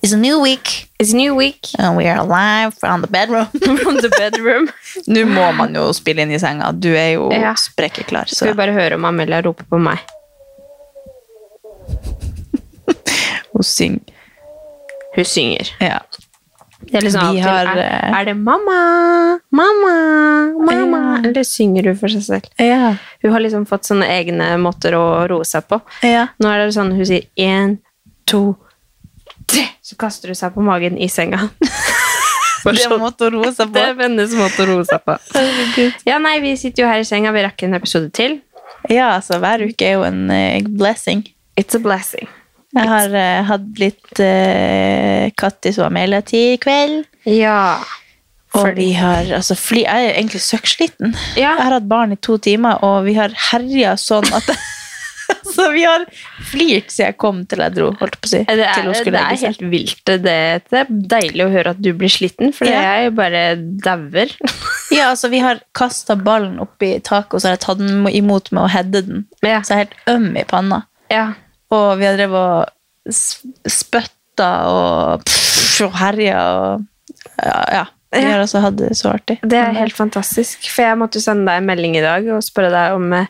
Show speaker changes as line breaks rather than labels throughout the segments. It's a new week. It's a new week. And we are live from the bedroom. from the bedroom. Nå må man jo spille inn i senga. Du er jo
Ja.
sprekkeklar.
Skal
Så.
vi bare høre om Amelia roper på meg?
Hun synger.
Hun synger.
Ja.
Det er, liksom
Vi
alltid,
har,
er,
eh,
er det mamma? Mamma? Mamma?
Ja.
Eller synger hun for seg selv?
Ja.
Hun har liksom fått sånne egne måter å roe seg på.
Ja.
Nå er det sånn hun sier én, to, tre, så kaster hun seg på magen i senga. Bare
Det
sånn.
måtte hun roe seg
Det
på.
er hennes måte å roe seg på. Ja, nei, vi sitter jo her i senga. Vi rakk en episode til.
Ja, altså, hver uke er jo en eh, blessing.
It's a blessing.
Jeg har eh, hatt litt uh, Kattis og Amelia-tid i kveld.
Ja.
Og
Fordi-
vi har, altså, fly, jeg er egentlig søkksliten.
Ja.
Jeg har hatt barn i to timer, og vi har herja sånn at Så vi har flirt siden jeg kom til jeg dro, holdt på å si.
Det er,
til hun
det
skulle
er
legge seg.
helt vilt. Det, det er deilig å høre at du blir sliten, for
Ja.
jeg bare dauer.
Ja, altså, vi har kasta ballen oppi taket, og så har jeg tatt den imot med å heade den.
Ja.
Så jeg er helt øm i panna.
Ja.
Og vi har drevet og s- spytta og, pff, og herja og Ja. ja. Vi
Ja.
har altså hatt det så artig. Mm.
Det er helt fantastisk, for jeg måtte jo sende deg en melding i dag og spørre deg om eh,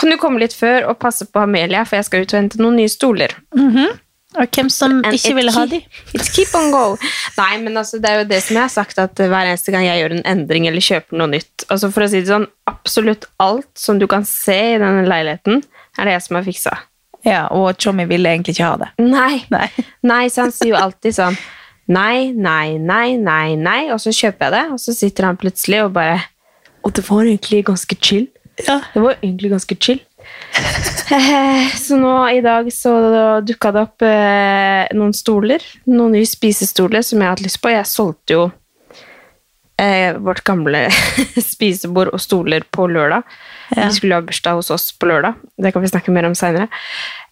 Kan du komme litt før og passe på Amelia, for jeg skal ut og hente noen nye stoler.
Og hvem som
And
ikke
it
ville ha de?
keep- It keep on go. Nei, men altså, det er jo det som jeg har sagt, at eh, hver eneste gang jeg gjør en endring eller kjøper noe nytt altså For å si det sånn, absolutt alt som du kan se i denne leiligheten, er det jeg som har fiksa.
Ja, og Tjommi ville egentlig ikke ha det.
Nei.
Nei.
Nei, så han sier jo alltid sånn Nei, nei, nei, nei, nei Og så kjøper jeg det, og så sitter han plutselig og bare Og det var egentlig ganske chill
Ja.
Det var egentlig ganske chill Eh, Så nå i dag så dukket det opp eh, noen stoler Noen nye spisestoler som jeg har hatt lyst på Jeg solgte jo eh, vårt gamle spisebord og stoler på lørdag. Vi skulle ha bursdag hos oss på lørdag. Det kan vi snakke mer om seinere.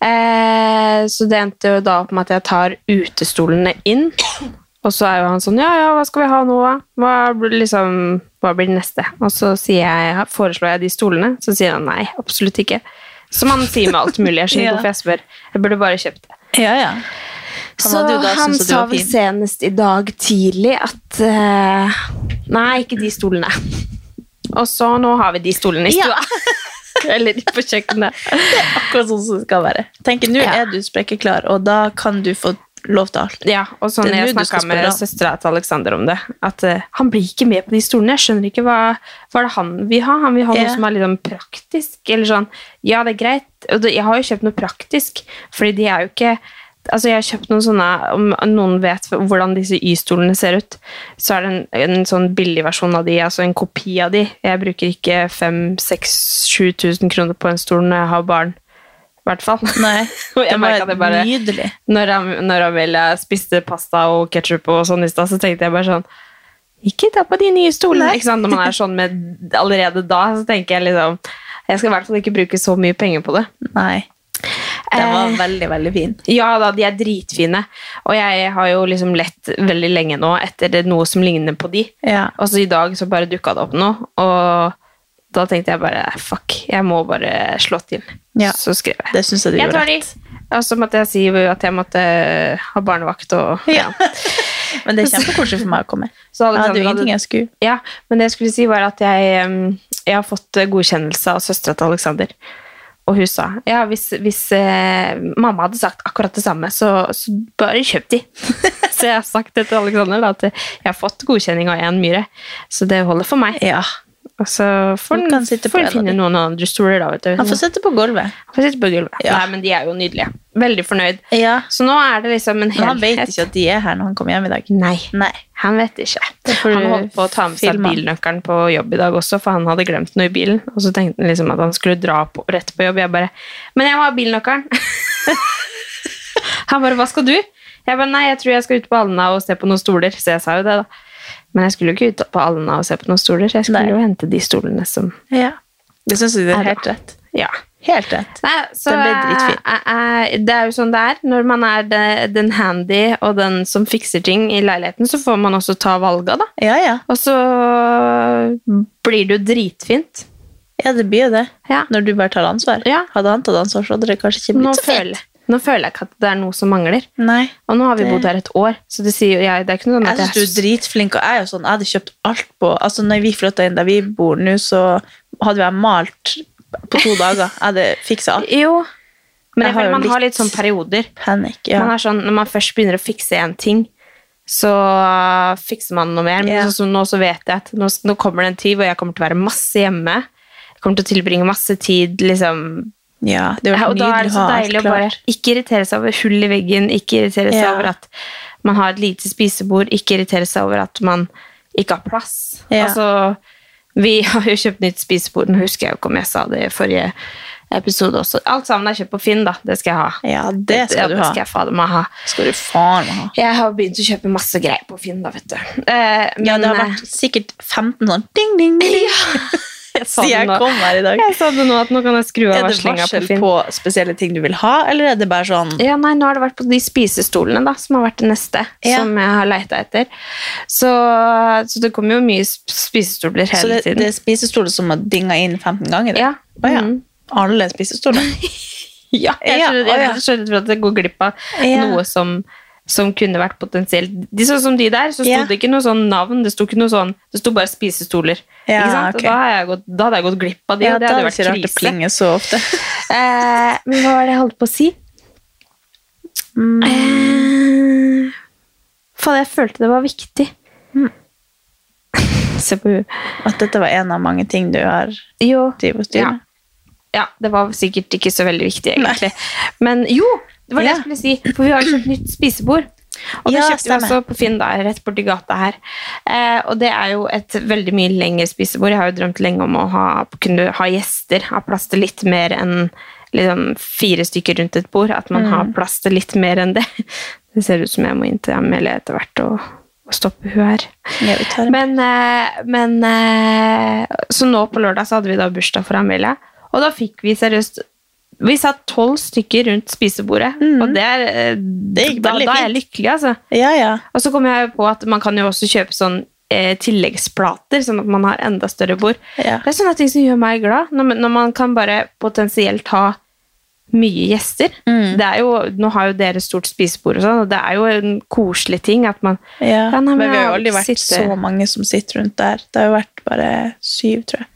Eh, så det endte jo da opp med at jeg tar utestolene inn. Og så er jo han sånn Ja, ja, hva skal vi ha nå, da? Hva, blir liksom, hva blir det neste? Og så sier jeg, foreslår jeg de stolene. Så sier han nei, absolutt ikke. Som han sier med alt mulig. Jeg skjønner
Ja.
ikke hvorfor jeg spør. Jeg burde bare kjøpt det.
Ja, ja. Han
Så
hadde jo da
han
syntes at du
sa
var
vel
fin.
senest i dag tidlig at eh, Nei, ikke de stolene. Og så nå har vi de stolene i stua. Eller på kjøkkenet.
Akkurat sånn som det skal være. Tenker, Nå er du sprekkeklar, og da kan du få lov til alt.
Ja, og sånn
Det er nå
Jeg
du skal
snakka med
spørre han.
søstera til Alexander om det. At eh, han blir ikke med på de stolene. Jeg skjønner ikke hva, hva er det han vil ha. Han vil ha
Ja.
noe som er litt sånn praktisk. Eller sånn Ja, det er greit. Og det- Jeg har jo kjøpt noe praktisk, fordi de er jo ikke Altså, jeg har kjøpt noen sånne Om noen vet hvordan disse Y-stolene ser ut, så er det en, en sånn billig versjon av de, altså en kopi av de. Jeg bruker ikke 5000-7000 kroner på en stol når jeg har barn. I hvert fall.
Nei,
Og
det
jeg merket
var
det bare-
nydelig.
Når, Am- når Amelia spiste pasta og ketchup og sånn i stad, så tenkte jeg bare sånn Ikke ta på de nye stolene! Ikke sant? Når man er sånn med allerede da, så tenker jeg liksom Jeg skal i hvert fall ikke bruke så mye penger på det.
Nei. Den var
Eh.
veldig, veldig fin.
Ja da, de er dritfine. Og jeg har jo liksom lett veldig lenge nå etter noe som ligner på de.
Ja.
Og så i dag så bare dukka det opp noe, og da tenkte jeg bare fuck, jeg må bare slå til.
Ja.
Så skrev jeg.
Det syns jeg du
Jeg
gjorde.
tar de. Og så måtte jeg si at jeg måtte ha barnevakt og
Ja. Men det er kjempekoselig for meg å komme.
Så
Jeg hadde
Alexander
jo ingenting jeg skulle
Ja, men det jeg skulle si var at jeg, um, jeg har fått eh, godkjennelse av søstera til Alexander. Og hun sa ja, hvis, hvis eh, mamma hadde sagt akkurat det samme, så, så bare kjøp de. så jeg har sagt det til Alexander, da, at jeg har fått godkjenning av én myre. Så det holder for meg.
Ja.
Og så får
Han
han
kan sitte på en av de.
finne noen andre stoler, da. Vet du.
Han får sitte på gulvet.
Han får sitte på gulvet.
Ja.
Nei, men de er jo nydelige. Veldig fornøyd.
Ja.
Så nå er det liksom en
Men han vet
helhet.
ikke at de er her når han kommer hjem i dag.
Nei.
Nei.
Han vet ikke.
får
Han
du
holdt på å ta med seg
filme.
bilnøkkelen på jobb i dag også, for han hadde glemt noe i bilen. Og så tenkte han liksom at han skulle dra på, rett på jobb. Jeg bare Men jeg må ha bilnøkkelen! han bare Hva skal du? Jeg bare Nei, jeg tror jeg skal ut på Alna og se på noen stoler. Så jeg sa jo det, da. Men jeg skulle jo ikke ut på Alna og se på noen stoler. Jeg skulle
Nei.
jo hente de stolene som
Ja. Det syns jeg det
Er
er
det?
helt rett.
Ja.
Helt rett.
Nei, så
Den ble dritfin.
eh, eh, det er jo sånn det er. Når man er de- den handy og den som fikser ting i leiligheten, så får man også ta valga, da.
Ja, ja.
Og så blir det jo dritfint.
Ja, det blir jo det.
Ja.
Når du bare tar ansvar.
Ja.
Hadde han tatt ansvar, så hadde det kanskje ikke
Nå
blitt så
føler,
fint.
nå føler jeg ikke at det er noe som mangler.
Nei.
Og nå har vi
Det-
bodd her et år, så det, sier jo jeg, det er ikke noe sånn
Jeg
at
syns du er dritflink, og jeg er jo sånn, jeg hadde kjøpt alt på Altså, når vi flytta inn der vi bor nå, så hadde jo jeg malt på to dager. Jeg hadde fiksa alt.
Jo,
Jeg
men jeg
har
føler
jo
man har
litt-
litt sånn perioder.
Panikk. Ja.
Man har sånn, når man først begynner å fikse en ting, så fikser man noe mer. Men
Ja.
sånn som nå så vet jeg at nå, nå kommer det en tid hvor jeg kommer til å være masse hjemme. Jeg kommer til å tilbringe masse tid liksom
ja. Det
Ja,
var
og da er
nydelig
det
å
så
ha alt
deilig å bare
klart.
ikke irritere seg over hull i veggen, ikke irritere seg
Ja.
over at man har et lite spisebord, ikke irritere seg over at man ikke har plass.
Ja.
Altså, vi har jo kjøpt nytt spisebord, nå husker jeg jo ikke om jeg sa det i forrige episode også. Alt sammen er kjøpt på Finn, da. Det skal jeg ha.
Ja, det skal du
det
ha.
skal jeg fader meg ha.
Skal du faen meg ha.
Jeg har begynt å kjøpe masse greier på Finn, da, vet du. Eh,
Ja, det har
eh,
vært sikkert 15 sånn ding, ding, ding.
jeg sa
Siden
det
jeg
nå.
kom her i dag.
Jeg sa det nå at nå kan jeg skru av
Er det
varslinga på
varsel
Finn.
på spesielle ting du vil ha, eller er det bare sånn
Ja, nei, nå har det vært på de spisestolene da, som har vært det neste,
Ja.
som jeg har leita etter. Så, så det kommer jo mye sp- spisestoler
Så
hele
det,
tiden.
det er spisestoler som har dinga inn 15 ganger?
Ja.
Å ja.
Mhm.
Alle spisestoler?
ja, jeg
Ja,
skjønner
å, ja.
jeg skjønner for at jeg går glipp av
Ja.
noe som, som kunne vært potensielt de, Sånn som de der, så sto
Ja.
det ikke noe sånn navn, det sto ikke noe sånn, det sto bare spisestoler.
Ja,
ikke sant?
ok.
Og da, har jeg gått, da hadde jeg gått glipp av de, og det hadde
ikke rart
vært
å
krise.
plinge så ofte.
Eh, men hva var det jeg holdt på å si?
Mm,
Eh, Faen, jeg følte det var viktig. Se på henne.
At dette var en av mange ting du har
Jo.
drevet og styrt med.
Ja, det var sikkert ikke så veldig viktig, egentlig. Men jo, det var det
Ja.
jeg skulle si, for vi har jo kjøpt nytt spisebord. Og det
Ja,
kjøpte vi
stemmer.
også på Finn, da, rett borti gata her. Eh, og det er jo et veldig mye lengre spisebord. Jeg har jo drømt lenge om å ha, kunne ha gjester, ha plass til litt mer enn liksom, fire stykker rundt et bord. At man
Mm.
har plass til litt mer enn det. Det ser ut som jeg må inn til Amelie etter hvert og, og stoppe hun her.
Ja, vi tar det.
Men, eh, men eh, Så nå på lørdag så hadde vi da bursdag for Amelie, og da fikk vi seriøst Vi satt tolv stykker rundt spisebordet, og det er eh,
Mhm. gikk
da,
veldig
da er jeg lykkelig, altså.
Ja, ja.
Og så kom jeg jo på at man kan jo også kjøpe sånn eh, tilleggsplater, sånn at man har enda større bord.
Ja.
Det er sånne ting som gjør meg glad, når, man- når man kan bare potensielt ha mye gjester.
Mhm.
Det er jo, nå har jo dere stort spisebord og sånn, og det er jo en koselig ting at man
ja.
Ja, nei,
men,
men
vi har jo
jeg
aldri vært
sitter-
så mange som sitter rundt der. Det har jo vært bare syv, tror jeg.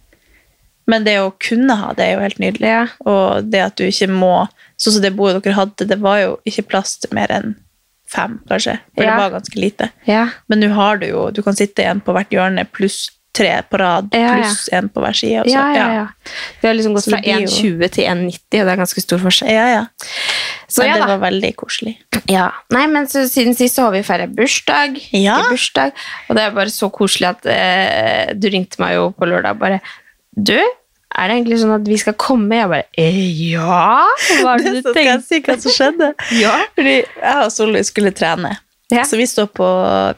Men det å kunne ha det er jo helt nydelig.
Ja.
Og det at du ikke må Sånn som det bordet dere hadde, det var jo ikke plass til mer enn fem, kanskje. For
Ja.
det var ganske lite.
Ja.
Men nå har du jo Du kan sitte en på hvert hjørne pluss tre på rad,
Ja, ja.
pluss en på hver side. og så-
Ja, ja, ja. Vi har liksom gått
Altså, Så det
fra
blir jo-
1,20 til 1,90, og det er ganske stor
ja.
forskjell.
ja, ja.
Så
Men
ja
det
da.
var veldig koselig.
Ja. Nei, men så, siden sist så har vi feiret bursdag.
Ja.
Ikke bursdag. Og det er bare så koselig at eh, du ringte meg jo på lørdag og bare Du, er det egentlig sånn at vi skal komme? Jeg bare eh, Ja! Hva har du
Så skal jeg
tenkt?
si hva som skjedde.
Ja.
Fordi jeg og Solveig skulle trene.
Ja.
Så vi, står på,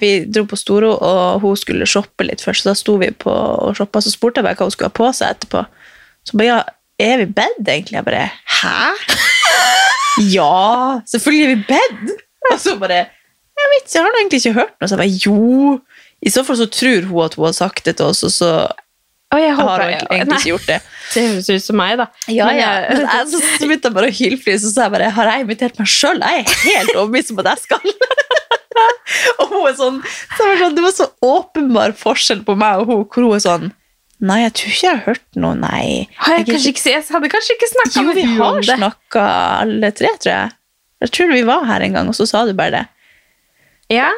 vi dro på Storo, og hun skulle shoppe litt først. Så da sto vi på og shoppa, så spurte jeg bare hva hun skulle ha på seg etterpå. Så bare, ja, er vi bedt egentlig? Jeg bare, hæ? ja, selvfølgelig er vi bedt! Og så bare, jeg vet ikke, jeg har nå egentlig ikke hørt noe. Så jeg bare, jo. I så fall så tror hun at hun har sagt det til oss, og så
Og jeg
har
håper
hun egentlig egentlig ikke gjort det.
Det høres ut som meg, da. Men
Men
jeg-
jeg, så så begynte jeg bare å hylflire, så sa jeg bare Har jeg invitert meg sjøl? Jeg er helt overbevist om at jeg skal. og hun er sånn, så jeg var sånn Det var så åpenbar forskjell på meg og hun, hvor hun er sånn Nei, jeg tror ikke jeg har hørt noe, nei.
Har jeg, kanskje ikke, jeg hadde kanskje ikke snakka
Jo,
med
vi
du om
har
det.
snakka alle tre, tror jeg. Jeg tror vi var her en gang, og så sa du bare det.
Ja?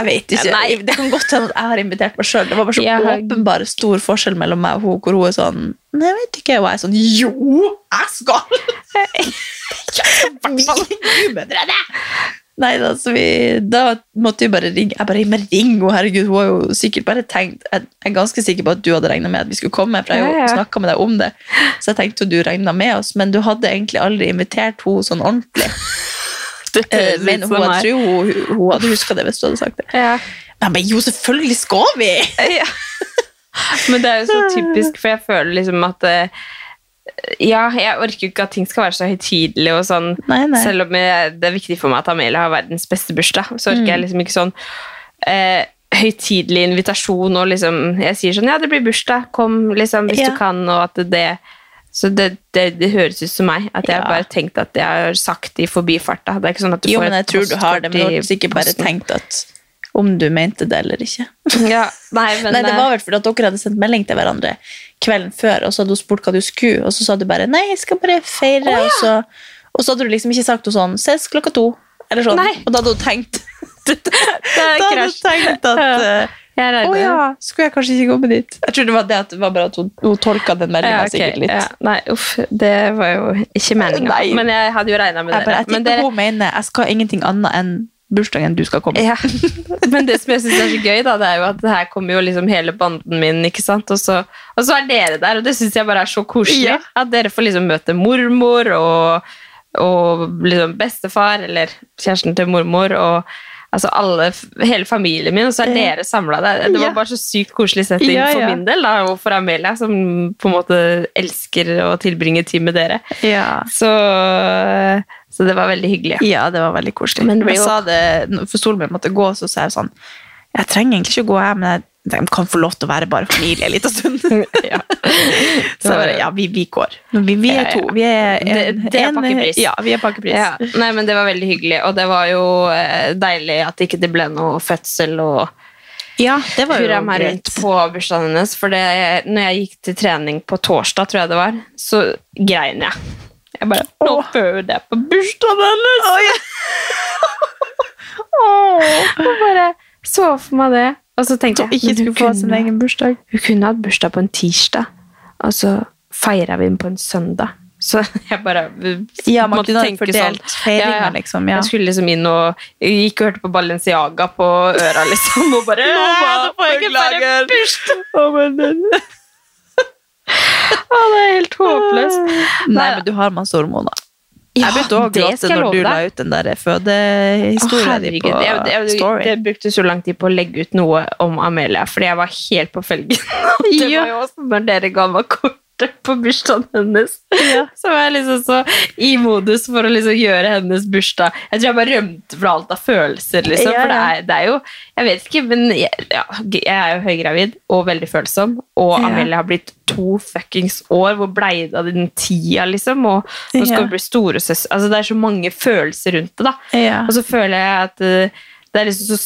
Jeg vet ikke.
Nei.
Det kan godt hende at jeg har invitert meg sjøl. Det var bare så
Jeg har-
åpenbar stor forskjell mellom meg og hun, hvor hun er sånn Nei, jeg vet ikke. Og jeg er sånn Jo, jeg skal! Jeg
altså,
skal gudmødrene! Nei da, så vi Da måtte vi bare ringe. Jeg bare men ring henne, herregud. Hun har jo sikkert bare tenkt Jeg jeg er ganske sikker på at du hadde regna med at vi skulle komme, for jeg har
Ja, ja.
jo snakka med deg om det. Så jeg tenkte jo du regna med oss, men du hadde egentlig aldri invitert henne sånn ordentlig.
Det
Eh,
høres
Men
ut
hun,
som
jeg
meg.
tror hun, hun hadde huska det hvis du hadde sagt det.
Ja.
Jeg bare, jo, selvfølgelig skal vi!
Ja. Men det er jo så typisk, for jeg føler liksom at eh, Ja, jeg orker jo ikke at ting skal være så høytidelige og sånn.
Nei, nei.
Selv om jeg, det er viktig for meg at Amelia har verdens beste bursdag, så orker
Mm.
jeg liksom ikke sånn eh, høytidelig invitasjon og liksom Jeg sier sånn Ja, det blir bursdag, kom liksom hvis
Ja.
du kan, og at det så det, det, det høres ut som meg, at jeg
Ja.
bare tenkte at jeg har sagt det i forbifarta. Det er ikke sånn at du
Jo,
får
men jeg
et
tror du har det, men du
postkort i
har sikkert bare
posten.
tenkt at om du mente det eller ikke.
ja, Nei, men
nei, det
eh,
var vel fordi at dere hadde sendt melding til hverandre kvelden før, og så hadde hun spurt hva du skulle, og så sa du bare, nei, jeg skal bare feire, og, så, og så hadde du liksom ikke sagt noe sånn, ses klokka to, eller sånn.
Nei.
Og da hadde hun tenkt,
det er
da hadde hun
krasj.
tenkt at,
Ja.
eh, å
Jeg regner
ja, skulle jeg kanskje ikke komme dit? Jeg tror det var det at det var bare at hun, hun tolket den meldingen
Ja, ok.
sikkert litt.
Ja. Nei, uff, det var jo ikke meninga.
Nei.
Men jeg hadde jo regna med
Jeg, bare,
dere.
jeg
Men,
tipper
dere
hun mener, jeg skal ingenting annet enn bursdagen du skal komme.
ja. Men det som jeg syns er så gøy, da, det er jo at her kommer jo liksom hele banden min, ikke sant. Og så, og så er dere der, og det syns jeg bare er så koselig.
Ja.
At dere får liksom møte mormor og, og liksom bestefar, eller kjæresten til mormor, og altså alle, hele familien min, og så er
Ja.
dere samla der. Det var
Ja.
bare så sykt koselig setting
Ja,
for
ja.
min del, da, og for Amelia, som på en måte elsker å tilbringe tid med dere.
Ja.
Så, så det var veldig hyggelig.
Ja, det var veldig koselig.
Men det blir
jeg
jo-
sa det, for Solbjørn måtte gå, så sa jeg sånn Jeg trenger egentlig ikke å gå, jeg, men jeg, de kan få lov til å være bare familie en liten stund.
Ja.
Så jeg bare Ja, vi, vi går. Men vi, vi
Ja,
er
ja.
to. Vi er Eh, en,
Det- det er
en-
pakkepris.
Ja, vi er pakkepris.
Ja. Nei, men det var veldig hyggelig, og det var jo eh, deilig at ikke det ble noe fødsel og
Ja, det var jo
hurra meg rundt
greit.
på bursdagen hennes. For det, når jeg gikk til trening på torsdag, tror jeg det var, så grein jeg. Jeg bare Nå bød jeg på bursdagen hennes! Og bare så for meg det. Og så tenkte jeg
Ikke
men hun
skulle få
kunne-
sin egen bursdag.
Hun kunne hatt bursdag på en tirsdag, og så feira vi den på en søndag. Så jeg bare
Ja, man
måtte
kunne ha
tenke
fordelt feiringa, liksom, ja.
Jeg skulle liksom inn og gikk og hørte på Balenciaga på øra, liksom, og bare
Nå
«Å,
bare,
nå får jeg ikke bare
beklager!»
bursdag! Å, det er helt håpløst.
Nei, men du har masse hormoner. jeg begynte også å
det
gråte
skal jeg
når
love
du la
deg.
ut den der
Å,
fødehistorien din
herregud,
på
jeg, jeg,
Story.
det brukte så lang tid på å legge ut noe om Amelia, fordi jeg var helt på felgen. Det
Ja.
var jo også når dere ga meg kortet på bursdagen hennes. Så var jeg liksom så i modus for å liksom gjøre hennes bursdag. Jeg tror jeg bare rømte fra alt av følelser, liksom.
Ja,
For det
ja.
er, det er jo Jeg vet ikke, men jeg, ja, jeg er jo høygravid og veldig følsom, og
Ja.
Amelia har blitt to fuckings år. Hvor blei det av den tida, liksom? Og nå skal
Ja.
hun bli storesøster Altså, det er så mange følelser rundt det, da.
Ja.
Og så føler jeg at eh, det er liksom så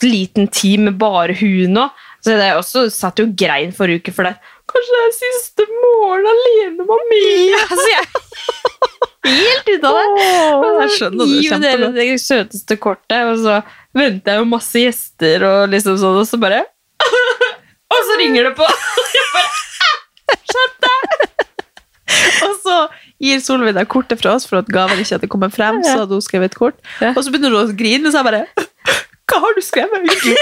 sliten tid med bare hun nå. Så jeg også satt jo og grein forrige uke for det. Kanskje det er siste morgen alene med Amelia. Altså, jeg Helt ute av det.
Åh, jeg skjønner det
Gi meg dere
kjempegodt.
det søteste kortet, og så venter jeg jo masse gjester, og liksom sånn, og så bare Og så ringer det på! Jeg bare,
Og så gir Solveig deg kortet fra oss for at gaven ikke hadde kommet frem. Så hadde hun skrevet et kort.
Ja.
Og så begynner hun å grine, så jeg bare Hva har du skrevet, egentlig?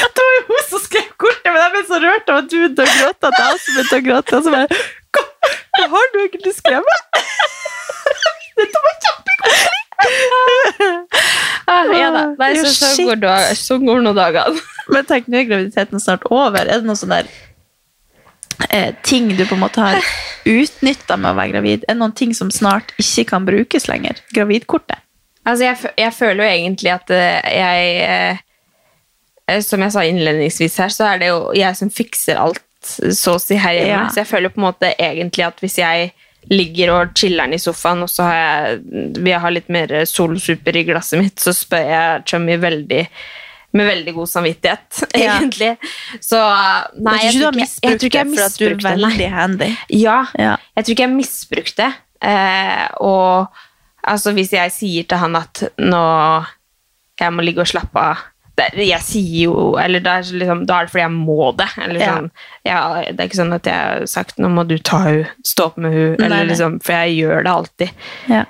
det var jo hun som skrev kortet, men jeg ble så rørt av at du begynte å gråte. At jeg også begynte å gråte. Og så bare Hva, hva har du egentlig skrevet? Dette var kjempekoselig!
ah, ja da. Nei,
Ja,
så, så,
shit.
går dag, så går nå dagene.
Men tenk, nå er graviditeten snart over. Er det noen sånne der, eh, ting du på en måte har utnytta med å være gravid? Er det noen ting som snart ikke kan brukes lenger? Gravidkortet?
Altså, jeg, fø- jeg føler jo egentlig at eh, jeg eh, eh, Som jeg sa innledningsvis her, så er det jo jeg som fikser alt, så å si, her hjemme.
Ja.
Så jeg føler på en måte egentlig at hvis jeg ligger og chiller'n i sofaen, og så har jeg, vil jeg ha litt mer solsuper i glasset mitt, så spør jeg Chummy veldig med veldig god samvittighet,
Ja.
egentlig. Så eh, nei,
jeg, tror ikke du har
jeg, jeg, jeg tror ikke jeg
misbrukt det, for at du
misbrukte
er
nei.
veldig handy.
Ja,
Ja.
jeg tror ikke jeg misbrukte det. Eh, og altså, hvis jeg sier til han at nå jeg må ligge og slappe av det, Jeg sier jo Eller da er, det liksom, da er det fordi jeg må det. Eller
Ja.
sånn, ja, det er ikke sånn at jeg har sagt 'nå må du ta hun, stå opp med hun',
Nei,
eller
nei.
liksom, for jeg gjør det alltid.
Ja.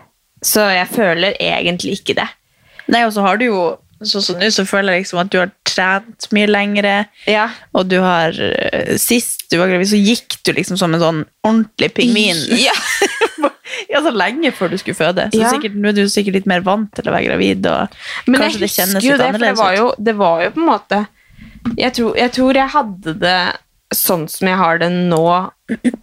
Så jeg føler egentlig ikke det.
Nei, og så har du jo Sånn som nå, så føler jeg liksom at du har trent mye lengre,
Ja.
og du har eh, Sist du var gravid, så gikk du liksom som en sånn ordentlig pingvin.
Ja.
Ja, så lenge før du skulle føde. Så
Ja.
sikkert, nå er du sikkert litt mer vant til å være gravid, og
Men
kanskje det
jeg
kjennes
husker jo
litt
det, for det
annerledes
var
ut.
jo, det var jo på en måte jeg tror, jeg tror jeg hadde det sånn som jeg har det nå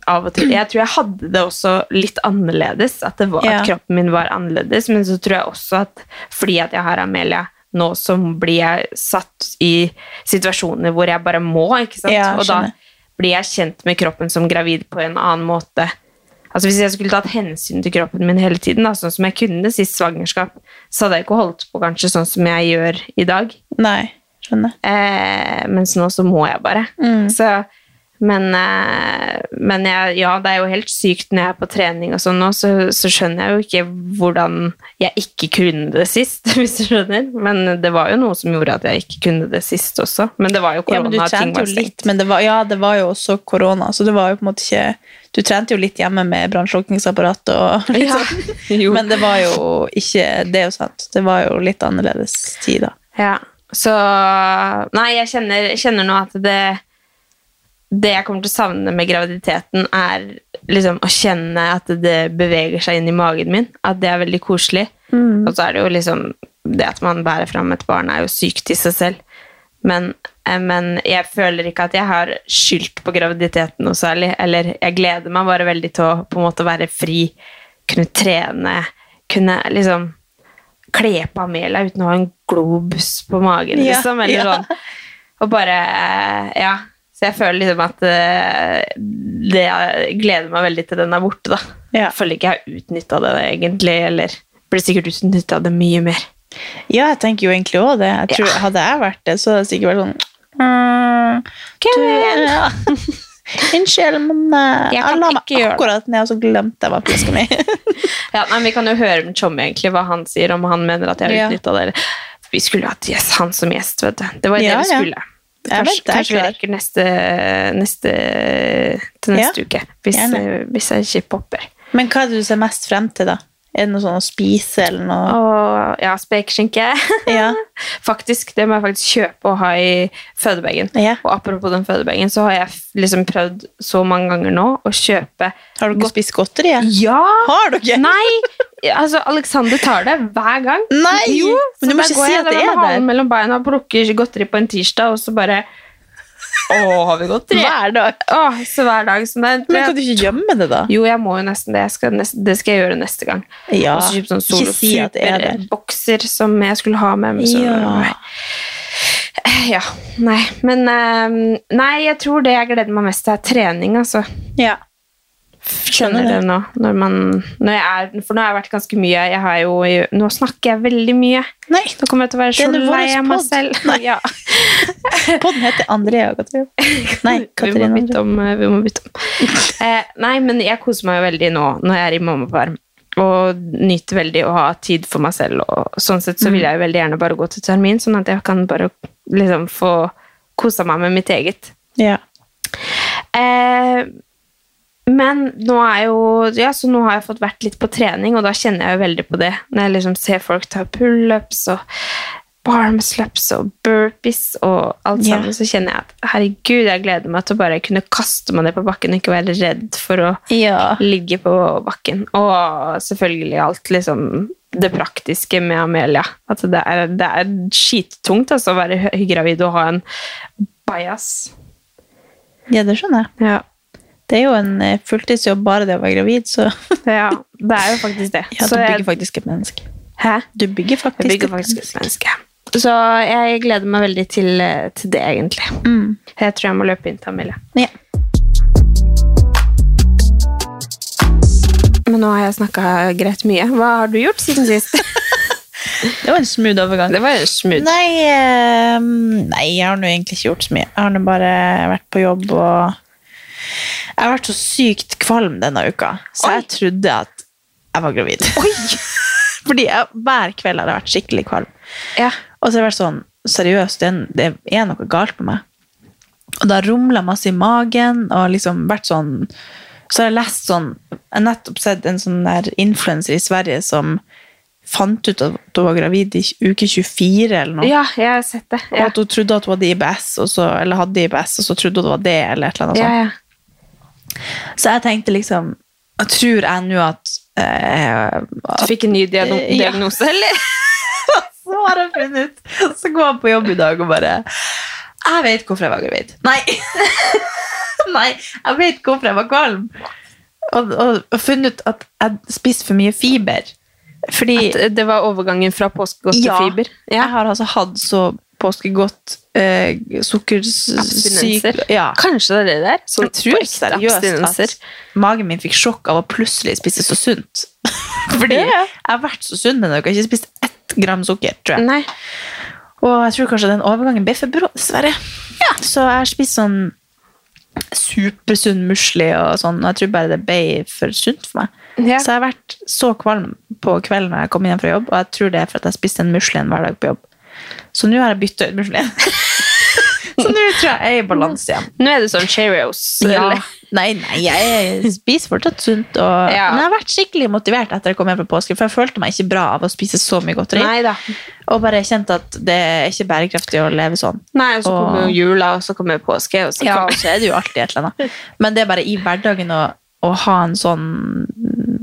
av og til. Jeg tror jeg hadde det også litt annerledes, at, det var,
Ja.
at kroppen min var annerledes, men så tror jeg også at fordi at jeg har Amelia nå, så blir jeg satt i situasjoner hvor jeg bare må, ikke sant?
Ja,
og da
skjønner.
blir jeg kjent med kroppen som gravid på en annen måte. Altså Hvis jeg skulle tatt hensyn til kroppen min hele tiden, da, sånn som jeg kunne sist svangerskap, så hadde jeg ikke holdt på kanskje sånn som jeg gjør i dag.
Nei, skjønner.
Eh, mens nå så må jeg bare.
Mm.
Så, men eh, men jeg, ja, det er jo helt sykt når jeg er på trening og sånn nå, så, så skjønner jeg jo ikke hvordan jeg ikke kunne det sist, hvis du skjønner. Men det var jo noe som gjorde at jeg ikke kunne det sist også. Men det var jo
Ja, men du
korona. ting
trente
var
jo
stengt.
litt, men det var, ja, det var jo også korona, så det var jo på en måte ikke Du trente jo litt hjemme med brannslukningsapparat og litt
Ja.
sånn.
Jo.
Men det var jo ikke Det er jo sant. Det var jo litt annerledes tid, da.
Ja, så Nei, jeg kjenner, jeg kjenner nå at det Det jeg kommer til å savne med graviditeten, er liksom å kjenne at det beveger seg inn i magen min. At det er veldig koselig.
Mm.
Og så er det jo liksom Det at man bærer fram et barn, er jo sykt i seg selv. Men, eh, men jeg føler ikke at jeg har skyldt på graviditeten noe særlig. Eller jeg gleder meg bare veldig til å på en måte være fri, kunne trene, kunne liksom kle på Amelia uten å ha en globus på magen,
Ja,
liksom.
ja.
Eller sånn. Og bare eh, Ja. Så jeg føler liksom at eh, det Jeg gleder meg veldig til den er borte, da.
Ja.
Jeg føler ikke jeg har utnytta det egentlig, eller blir sikkert utnytta det mye mer.
Ja, jeg tenker jo egentlig òg det. Jeg tror,
Ja.
Hadde jeg vært det, så hadde jeg sikkert vært sånn mm,
Kom
du-
igjen!»
ja. Unnskyld, men eh,
Jeg
jeg,
kan
la meg
ikke gjøre det.
akkurat ned, og så glemte jeg hva flaska mi
Ja, nei, men Vi kan jo høre med Tjommi egentlig hva han sier, om han mener at jeg
Ja.
har utnytta det. eller- Vi skulle jo hatt yes, han som gjest, vet du. Det var jo
Ja,
det vi
ja.
skulle.
Jeg
Kanskje,
vet det, jeg er
kanskje vi
klar.
rekker neste, neste, til neste
Ja,
uke, hvis,
gjerne.
eh, hvis jeg ikke popper.
Men hva er det du ser mest frem til, da? Er det noe sånn å spise, eller noe?
Og ja, spekeskinke.
Ja.
faktisk, det må jeg faktisk kjøpe og ha i fødebagen.
Ja.
Og apropos den fødebagen, så har jeg f- liksom prøvd så mange ganger nå å kjøpe
Har dere spist godteri? ja?
Ja!
Har dere?
Nei! Altså, Alexander tar det hver gang.
Nei!
Jo,
Men du må
så da
ikke
går
si
jeg
at det
da
er
med halen
der.
mellom beina og plukker godteri på en tirsdag, og så bare Å, har vi godteri?
Hver dag.
Å, så hver dag. Så det er,
Men kan du ikke gjemme det, da?
Jo, jeg må jo nesten det. Jeg skal nest- det skal jeg gjøre neste gang.
Ja.
Og så kjøpe sånn
Ikke si at det er der.
Solo-super-bokser som jeg skulle ha med meg. Så,
Ja.
ja. Nei, men eh, Nei, jeg tror det jeg gleder meg mest til, er trening, altså.
Ja.
Skjønner det nå. Når man, når jeg er, for nå har jeg vært ganske mye jeg har jo, Nå snakker jeg veldig mye.
Nei,
Nå kommer jeg til å være
Det er nå
så lei
vår
av meg
podd.
selv. Ja.
podden heter Andrea og Katrine. Nei,
Vi
Katrine.
må
og
bytte om. eh, Vi må bytte om. Eh, nei, men jeg koser meg jo veldig nå når jeg er i mammaperm. Og nyter veldig å ha tid for meg selv. Og sånn sett så vil jeg jo veldig gjerne bare gå til termin, sånn at jeg kan bare liksom få kosa meg med mitt eget.
Andrea. Ja.
Eh, men nå er jo Ja, så nå har jeg fått vært litt på trening, og da kjenner jeg jo veldig på det. Når jeg liksom ser folk ta pullups og barmslups og burpees og alt
Ja.
sammen, så kjenner jeg at herregud, jeg gleder meg til å bare kunne kaste meg ned på bakken og ikke være redd for å
ja.
ligge på bakken. Og selvfølgelig alt liksom det praktiske med Amelia. At det er, det er skittungt altså, å være hø- gravid og ha en bajas.
Ja, det skjønner jeg.
Ja.
Det er jo en eh, fulltidsjobb bare det å være gravid, så
Ja, det er jo faktisk det.
ja, du
Så jeg,
bygger faktisk et menneske.
hæ?
Du bygger faktisk,
jeg bygger faktisk et menneske. Så jeg gleder meg veldig til, eh, til det, egentlig. Jeg tror jeg må løpe inn til Amelie.
Ja.
Men nå har jeg snakka greit mye. Hva har du gjort siden sist? Det var en smooth overgang. Det var en smooth.
Nei, eh, nei, jeg har nå egentlig ikke gjort så mye. Jeg har nå bare vært på jobb og Jeg har vært så sykt kvalm denne uka, så jeg trodde at jeg var gravid. Fordi jeg, hver kveld har jeg vært skikkelig kvalm.
Ja.
Og så har jeg vært sånn Seriøst, det er- det er noe galt med meg. Og da rumla masse i magen, og liksom vært sånn Så har jeg lest sånn Jeg har nettopp sett en sånn der influenser i Sverige som fant ut at hun var gravid i uke 24 eller noe.
ja, jeg har sett det.
Og
Ja.
at hun trodde at hun hadde IBS, og så, eller hadde IBS, og så trodde hun det var det, eller et eller annet
Ja,
sånt.
ja.
Så jeg tenkte liksom, jeg tror jeg nå at, eh,
Du
at
fikk en ny diagno
Eh, ja.
diagnose, eller?
så har jeg funnet ut. Så går han på jobb i dag og bare, jeg vet hvorfor jeg var gravid. Nei, nei, jeg vet hvorfor jeg var kvalm. Og, og, og funnet ut at jeg spiste for mye fiber. Fordi...
At eh, det var overgangen fra påskegodt
Ja.
til fiber.
Jeg har altså hatt så påskegodt eh, sukkersyk...
Abstinenser.
Ja.
Kanskje det er det der?
Jeg tror ikke seriøst
abstinenser.
at magen min fikk sjokk av å plutselig spise så sunt. Fordi
Ja.
jeg har vært så sunn denne uka. Jeg har ikke spist ett gram sukker, tror jeg.
Nei.
Og jeg tror kanskje den overgangen ble for brå, dessverre. Så jeg har spist sånn supersunn musli og sånn, og jeg tror bare det ble for sunt for meg.
Ja.
Så jeg har vært så kvalm på kvelden når jeg kom hjem fra jobb, og jeg tror det er for at jeg spiste en musli en hver dag på jobb. Så nå har jeg byttet ut muslien. så nå tror jeg jeg er i balanse igjen.
Nå er det sånn Cheerios.
Ja.
Eller?
Nei, nei, jeg spiser fortsatt sunt. Og,
Ja.
Men jeg har vært skikkelig motivert etter jeg kom hjem fra påske, for jeg følte meg ikke bra av å spise så mye godteri.
Nei da.
Og bare kjente at det er ikke bærekraftig å leve sånn.
Nei, og så
Og-
kommer jo jula, og så kommer påske, og så
Ja,
kommer
så er det jo alltid et eller annet. Men det er bare i hverdagen å, å ha en sånn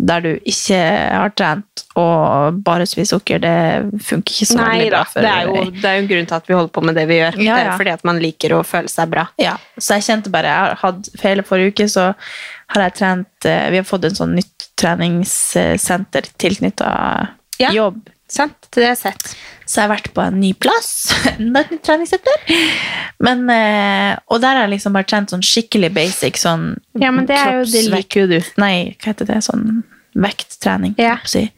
der du ikke har trent og bare spiser sukker, det funker ikke så
Nei
veldig
da,
bra. for-
det er, jo, det er jo en grunn til at vi holder på med det vi gjør.
Ja,
Det er
ja.
jo fordi at man liker å føle seg bra.
Ja, så jeg kjente bare, jeg har hatt for hele forrige uke, så har jeg trent, eh, vi har fått en sånn nytt treningssenter tilknyttet
Ja.
jobb.
Sant? Det har jeg sett.
Så jeg har vært på en ny plass, enda et nytt treningssenter. Men, eh, og der har jeg liksom bare trent sånn skikkelig basic, sånn
Ja, men det er jo- det
kroppsvekt-
liker jo
Nei, hva heter det, sånn vekttrening,
Ja.
kan
Mm.
jeg si.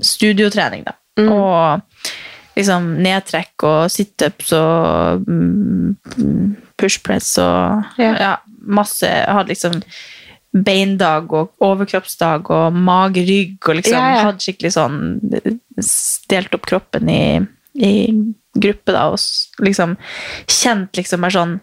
Studiotrening da. Og liksom nedtrekk og sit-ups og mm, pushpress og ja.
Ja.
masse. Jeg hadde liksom beindag og overkroppsdag og mage-rygg og liksom
Ja, ja.
hadde skikkelig sånn stelt opp kroppen i, i gruppe da og s- liksom kjent liksom bare sånn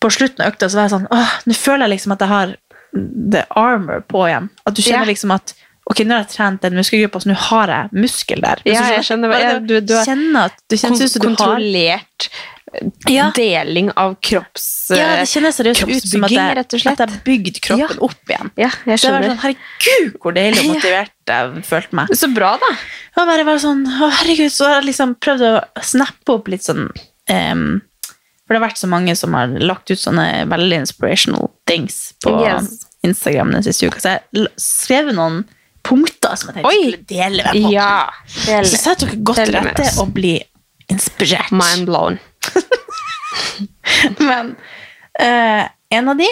på slutten av økta så var jeg sånn åh, nå føler jeg liksom at jeg har the armor på igjen. At du kjenner
Ja.
liksom at ok, nå har jeg trent den muskelgruppa, så nå har jeg muskel der. Hvis
Ja,
du
jeg skjønner hva-
Bare
ja,
det å
du- du har
kjenne at det kjennes ut som du har
Kontrollert eh,
Ja.
deling av kropps... eh,
ja, det kjennes seriøst ut som at
kroppsbygging,
jeg,
rett og slett.
at jeg har bygd kroppen opp igjen.
Ja, jeg
Så jeg var
skjønner.
sånn, herregud, hvor deilig og motivert jeg følte meg.
sånn- Så bra, da.
Og bare var sånn, å herregud, så har jeg liksom prøvd å snappe opp litt sånn em, For det har vært så mange som har lagt ut sånne veldig inspirational things på
Yes.
Instagram den siste uka, så jeg l- skrev noen punkter som jeg tenkte
Oi.
skulle dele med folk.
Ja.
Så sett dere godt
Del
til
det med
rette
oss.
og bli inspirert.
Mind blown.
Men eh, en av de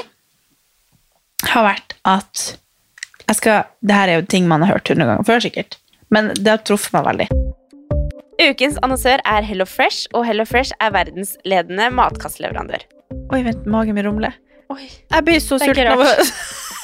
har vært at jeg skal, det her er jo ting man har hørt hundre ganger før, sikkert. Men det har truffet meg veldig.
Ukens annonsør er Hello Fresh, og Hello Fresh er verdensledende matkastleverandør.
Oi, vent, magen min rumler.
Oi.
Jeg blir så
Det er
sulten
ikke
av å-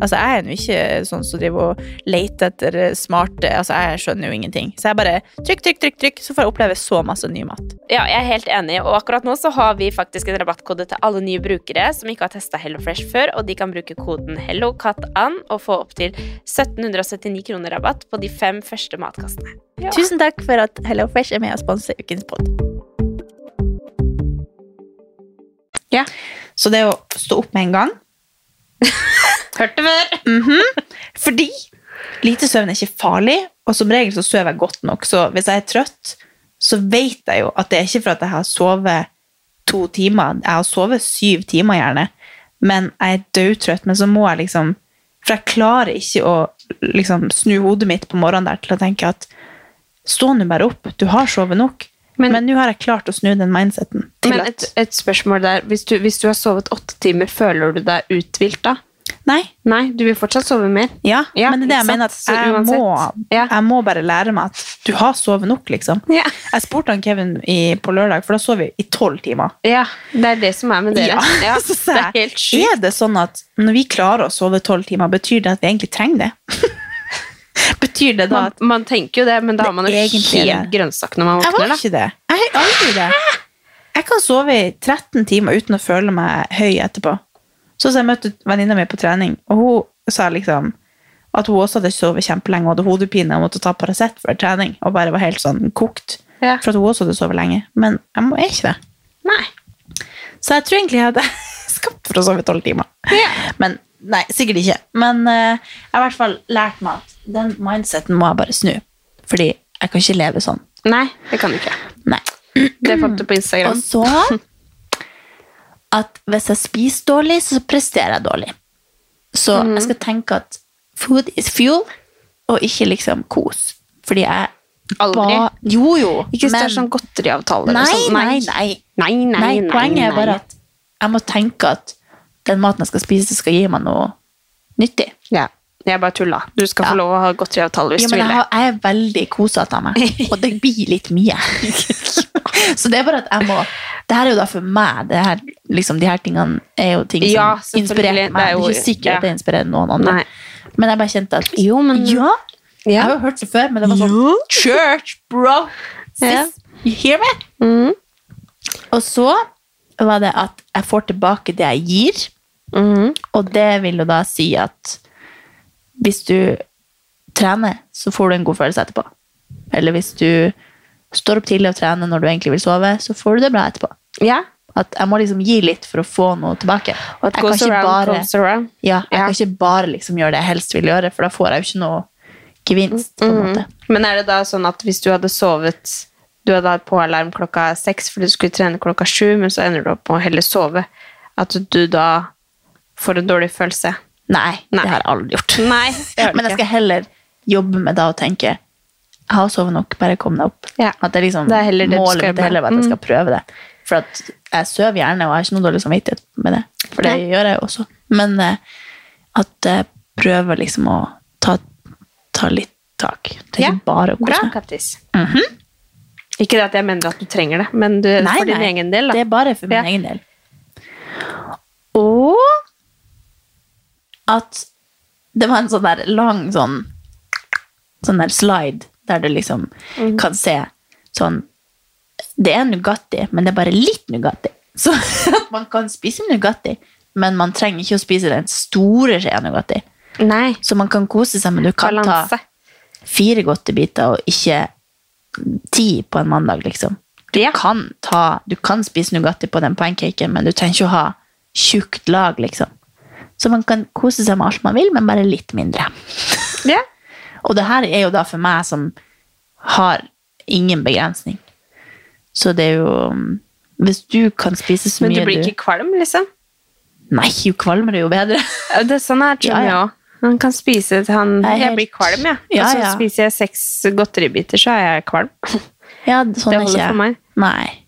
altså jeg er jo ikke sånn som driver og leter etter smarte Altså jeg skjønner jo ingenting. Så jeg bare trykk, trykk, trykk, trykk, så får jeg oppleve så masse ny mat.
Ja, jeg er helt enig, og akkurat nå så har vi faktisk en rabattkode til alle nye brukere som ikke har testa HelloFresh før, og de kan bruke koden HelloCatAnn og få opptil 1779 kroner rabatt på de fem første matkastene.
Tusen takk for at Hello Fresh er med og sponser ukens pod. Ja. Så det å stå opp med en gang Hørte før! Fordi lite søvn er ikke farlig, og som regel så sover jeg godt nok. Så hvis jeg er trøtt, så vet jeg jo at det er ikke for at jeg har sovet to timer. Jeg har sovet syv timer gjerne, men jeg er dødtrøtt. Men så må jeg liksom For jeg klarer ikke å liksom snu hodet mitt på morgenen der til å tenke at stå nå bare opp, du har sovet nok. Men nå har jeg klart å snu den mindseten. til
Men
at-
et, et spørsmål der. Hvis du, hvis du har sovet åtte timer, føler du deg uthvilt da?
Nei.
Nei, Du vil fortsatt sove mer?
Ja, men det er det jeg
ikke
mener at
sant?
jeg
Så
må,
uansett.
jeg må bare lære meg at du har sovet nok, liksom. Jeg spurte han Kevin i, på lørdag, for da sov vi i tolv timer.
Ja, det er det som er med dere.
Ja.
Ja,
Så
det
sa
er
jeg,
helt sjukt.
er det sånn at når vi klarer å sove tolv timer, betyr det at vi egentlig trenger det? betyr det da
Man,
at
man tenker jo det, men da har man jo
egentlig er
helt grønnsak når man
Jeg
våkner.
var ikke det. Jeg har aldri det. Jeg kan sove i 13 timer uten å føle meg høy etterpå. Så så jeg møtte venninna mi på trening, og hun sa liksom at hun også hadde sovet kjempelenge og hadde hodepine og måtte ta Paracet før trening. Og bare var helt sånn kokt. For at hun også hadde sovet lenge. Men jeg må er ikke det. Så jeg tror egentlig jeg hadde skapt for å sove tolv timer. Men nei, sikkert ikke. Men eh, jeg har i hvert fall lært meg at den mindseten må jeg bare snu. Fordi jeg kan ikke leve sånn.
Nei, det kan du ikke.
Nei.
Det fant
Mm.
du på Instagram.
Og så at hvis jeg spiser dårlig, så presterer jeg dårlig. Så
Mhm.
jeg skal tenke at food is fuel, og ikke liksom kos. Fordi jeg
Aldri.
ba- Jo, jo.
Ikke hvis det er
men-
sånn godteriavtaler.
Nei,
eller sånn.
nei, nei.
Nei, nei, nei,
poenget er
nei.
bare at jeg må tenke at den maten jeg skal spise, skal gi meg noe nyttig.
Ja. Jeg bare tulla. Du skal få lov å ha godteriavtale hvis
Ja,
du
men jeg,
vil det.
har, jeg er veldig kosete av meg, og det blir litt mye. Så det er bare at jeg må Det her er jo da for meg. Det her, liksom, de her tingene er jo ting som
Ja,
inspirerer
selvfølgelig.
meg. Det er,
Det er jo-
ikke sikkert
ja.
at det inspirerer noen andre.
Nei.
Men jeg bare kjente at Ja! Jeg har jo hørt det før, men det var sånn Church, bro! Sis,
Ja. Mm.
you hear me? Og så var det at jeg får tilbake det jeg gir,
Mm.
og det vil jo da si at hvis du trener, så får du en god følelse etterpå. Eller hvis du står opp tidlig og trener når du egentlig vil sove, så får du det bra etterpå. At jeg må liksom gi litt for å få noe tilbake.
at goes around comes around.
Ja, jeg kan ikke bare liksom gjøre det jeg helst vil gjøre, for da får jeg jo ikke noe gevinst. på
Mm.
en måte.
Men er det da sånn at hvis du hadde sovet Du hadde hatt påalarm klokka seks fordi du skulle trene klokka sju, men så ender du opp med å heller sove, at du da får en dårlig følelse?
Nei, det har jeg aldri gjort.
Nei, det har du
Men jeg
ikke.
skal heller jobbe med da og tenke jeg har sovet nok, bare kom deg opp. At det er liksom
Det er heller det du skal
målet
gjøre
mitt er heller at
med.
jeg skal
Mm.
prøve det. For at jeg sover gjerne, og jeg har ikke noe dårlig samvittighet med det. For det
Nei.
gjør jeg jo også. Men eh, at jeg prøver liksom å ta, ta litt tak. Det er ikke bare sånn å
Bra,
kose meg.
Kattis. Ikke det at jeg mener at du trenger det, men du,
Nei,
for din
nei,
egen del. Da.
Det er bare for min egen del. Og at det var en sånn der lang sånn, sånn der slide der du liksom
Mhm.
kan se sånn Det er Nugatti, men det er bare litt Nugatti. Så at man kan spise Nugatti, men man trenger ikke å spise den store skjea Nugatti. Så man kan kose seg, men du kan
Balanse.
ta fire godtebiter og ikke ti på en mandag, liksom. Du, kan, ta, du kan spise Nugatti på den pancaken, men du trenger ikke å ha tjukt lag, liksom. Så man kan kose seg med alt man vil, men bare litt mindre. Og det her er jo da for meg som har ingen begrensning. Så det er jo um, Hvis du kan spise så
Men
mye
du blir ikke kvalm, liksom?
Nei, jo kvalmere, jo bedre.
Ja, Det, sånn er det
Ja,
ja,
ja.
ja. Han kan spise til han
Jeg er
Jeg,
helt-
blir kvalm, jeg.
Ja,
og så
ja.
spiser jeg seks godteribiter, så er jeg kvalm.
Ja, sånn
Det
er
holder
ikke jeg.
for meg.
Nei.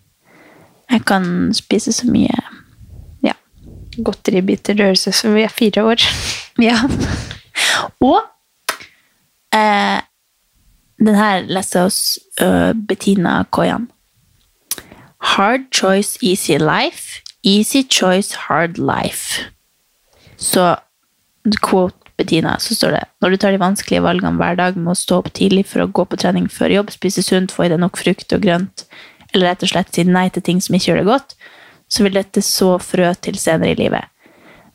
Jeg kan spise så mye. Ja.
Godteribiter det høres ut som vi er fire år.
Ja. Og eh, den her leste jeg hos ø, eh, Bettina Koyan. Hard choice, easy life. Easy choice, hard life. Så quote Bettina, så står det Når du tar de vanskelige valgene hver dag med å stå opp tidlig for å gå på trening før jobb, spise sunt, få i deg nok frukt og grønt, eller rett og slett si nei til ting som ikke gjør det godt, så vil dette så frø til senere i livet.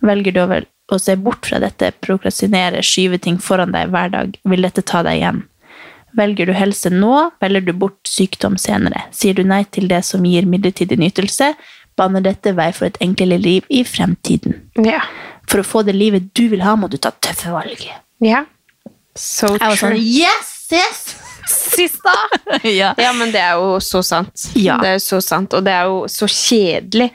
Velger du å vel- å se bort fra dette, prokrastinere, skyve ting foran deg hver dag, vil dette ta deg igjen. Velger du helse nå, velger du bort sykdom senere. Sier du nei til det som gir midlertidig nytelse, baner dette vei for et enklere liv i fremtiden. For å få det livet du vil ha, må du ta tøffe valg.
Ja. So
Jeg var
true.
sånn, yes, yes!
Sista!
ja.
men det er jo så sant.
Ja.
Det er jo så sant, og det er jo så kjedelig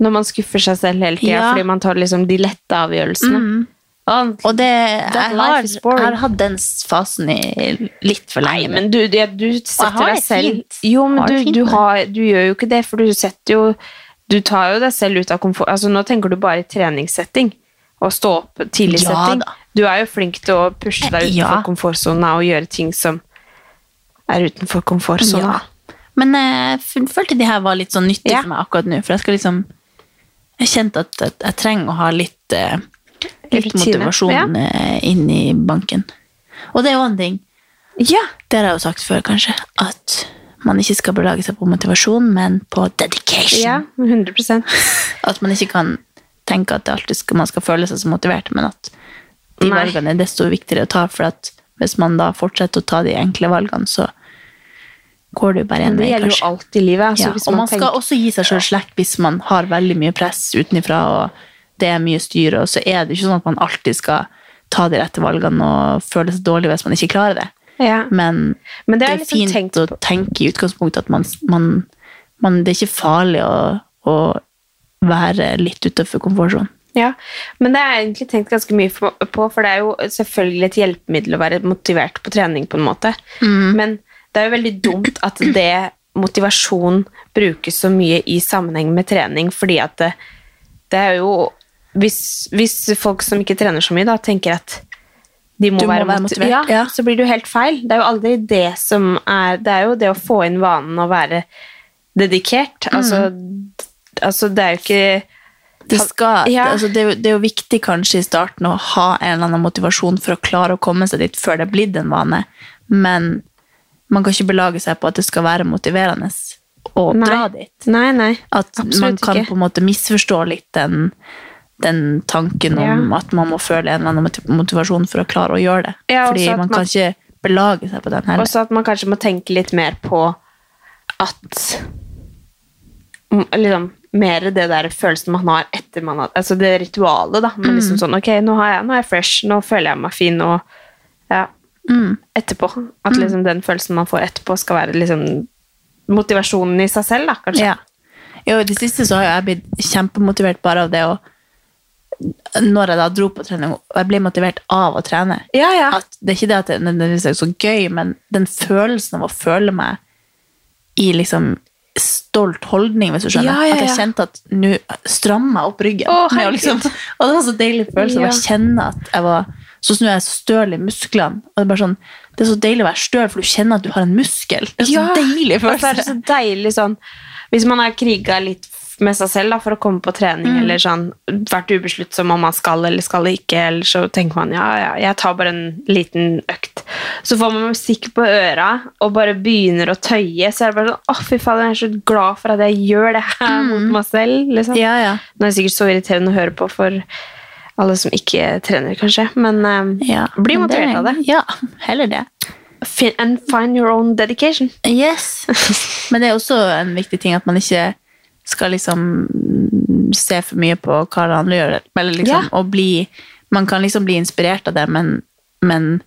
når man skuffer seg selv hele tida
Ja.
fordi man tar liksom de lette avgjørelsene.
Mm.
Og,
Og det, jeg,
That
har,
life is
jeg
boring.
har hatt den fasen i litt for lenge.
Nei, men du, det- du setter
har
deg
det
selv
fint.
Jo, men
Har det
du,
fint
du,
nå.
har, du gjør jo ikke det, for du setter jo Du tar jo deg selv ut av komfort Altså, nå tenker du bare i treningssetting. Og stå opp tidlig
Ja
setting.
da. Eh,
Du er jo flink til å pushe deg utenfor
Ja.
komfortsona og gjøre ting som er utenfor komfortsona.
Men eh, jeg følte de her var litt sånn nyttig for meg akkurat nå, for jeg skal liksom Jeg kjente at, at jeg trenger å ha litt eh, Litt
Rutine,
motivasjon
ja.
eh, inn i banken. Og det er jo en ting.
Ja.
Det har jeg jo sagt før, kanskje, at man ikke skal belage seg på motivasjon, men på dedication.
Ja, 100
At man ikke kan tenke at det alltid skal, man skal føle seg så motivert, men at de
Nei.
valgene er desto viktigere å ta, for at hvis man da fortsetter å ta de enkle valgene, så går det jo bare
Men
en
det
vei,
gjelder
kanskje.
jo alt i livet. Altså,
Ja,
hvis
og
man
man skal
tenker-
også gi seg sjøl slack hvis man har veldig mye press utenfra, og det er mye styr, og så er det ikke sånn at man alltid skal ta de rette valgene og føle seg dårlig hvis man ikke klarer det.
Ja.
Men,
Men det
det
har
er,
jeg liksom tenkt
fint å tenke i utgangspunktet at man, man, man Det er ikke farlig å, å være litt utenfor komfortsonen.
Ja, men det har jeg egentlig tenkt ganske mye for- på, for det er jo selvfølgelig et hjelpemiddel å være motivert på trening, på en måte.
Mm.
Men det er jo veldig dumt at det motivasjon brukes så mye i sammenheng med trening, fordi at det, det er jo hvis, hvis folk som ikke trener så mye, da tenker at de må,
Du må
være,
være
moti-
motivert,
Ja,
ja.
så blir det jo helt feil. Det er jo aldri det som er Det er jo det å få inn vanen å være dedikert.
Mm.
Altså, altså, det er jo ikke
Det, skal,
Ja.
altså det, er jo, det er jo viktig kanskje i starten å ha en eller annen motivasjon for å klare å komme seg dit før det er blitt en vane, men man kan ikke belage seg på at det skal være motiverende å
Nei.
dra dit.
Nei, nei.
At
Absolutt
man kan
ikke.
på en måte misforstå litt den, den tanken om
Ja.
at man må føle en eller annen moti- motivasjon for å klare å gjøre det.
Ja, også
Fordi
at
man,
man-
kan ikke belage seg på den
Og
heller.
så at man kanskje må tenke litt mer på at m- liksom, Mer det der følelsen man har etter man har Altså det ritualet, da. Men liksom sånn Ok, nå, har jeg, nå er jeg fresh, nå føler jeg meg fin, og ja,
Mm.
etterpå. At liksom den følelsen man får etterpå, skal være liksom motivasjonen i seg selv, da, kanskje.
Ja. Jo, I det siste så har jo jeg blitt kjempemotivert bare av det å Når jeg da dro på trening, og jeg ble motivert av å trene
Ja, ja.
at Det er ikke det at det nødvendigvis er så gøy, men den følelsen av å føle meg i liksom stolt holdning, hvis du skjønner.
Ja, ja,
At jeg
ja.
kjente at nå strammer jeg opp ryggen.
Å,
med å
herregud.
liksom, og det var så deilig følelse
Ja.
å kjenne at jeg var så snur jeg så støl i musklene. og Det er bare sånn, det er så deilig å være støl, for du kjenner at du har en muskel. Det er så
Ja,
deilig
altså,
følelse.
det er så deilig sånn Hvis man har kriga litt med seg selv da, for å komme på trening,
Mm.
eller sånn, vært ubesluttsom om man skal eller skal ikke, eller så tenker man ja, ja, jeg tar bare en liten økt. Så får man musikk på øra og bare begynner å tøye, så er det bare sånn Å, fy fader, jeg er så glad for at jeg gjør det her mot meg selv. Liksom.
Mm. Ja, ja.
Nå er det sikkert så irriterende å høre på for alle som ikke trener, kanskje, men eh,
Ja,
bli
men
motivert av det.
Ja, heller det.
Fin- And find your own dedication.
Yes. Men det er også en viktig ting at man ikke skal liksom mm, se for mye på hva det andre gjør. Eller liksom,
Ja.
og bli, man kan liksom bli inspirert av det, men, men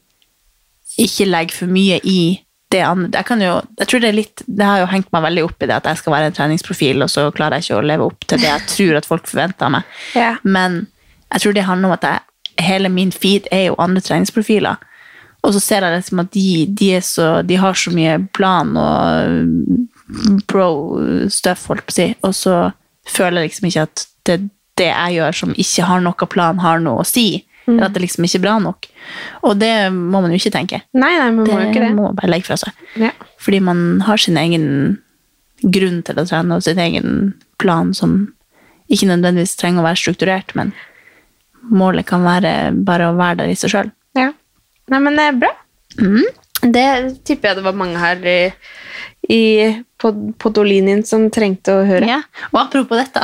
ikke legge for mye i det andre. Jeg, kan jo, jeg tror det er litt, det har jo hengt meg veldig opp i det at jeg skal være en treningsprofil, og så klarer jeg ikke å leve opp til det jeg tror at folk forventer av meg.
Ja.
Men jeg tror det handler om at jeg hele min feed er jo andre treningsprofiler. Og så ser jeg liksom at de, de, er så, de har så mye plan og bro-stuff, holdt på å si. Og så føler jeg liksom ikke at det, det jeg gjør som ikke har noe plan, har noe å si.
Mm.
Eller at det liksom ikke er bra nok. Og det må man jo ikke tenke.
Nei, nei, man må jo ikke det.
Mm. må man bare legge fra seg.
Ja.
Fordi man har sin egen grunn til å trene, og sin egen plan som ikke nødvendigvis trenger å være strukturert, men målet kan være bare å være der i seg sjøl.
Ja. Nei, men det er bra.
Mm.
Det tipper jeg det var mange her i, i, på, på Dolinien som trengte å høre.
Ja, Og apropos dette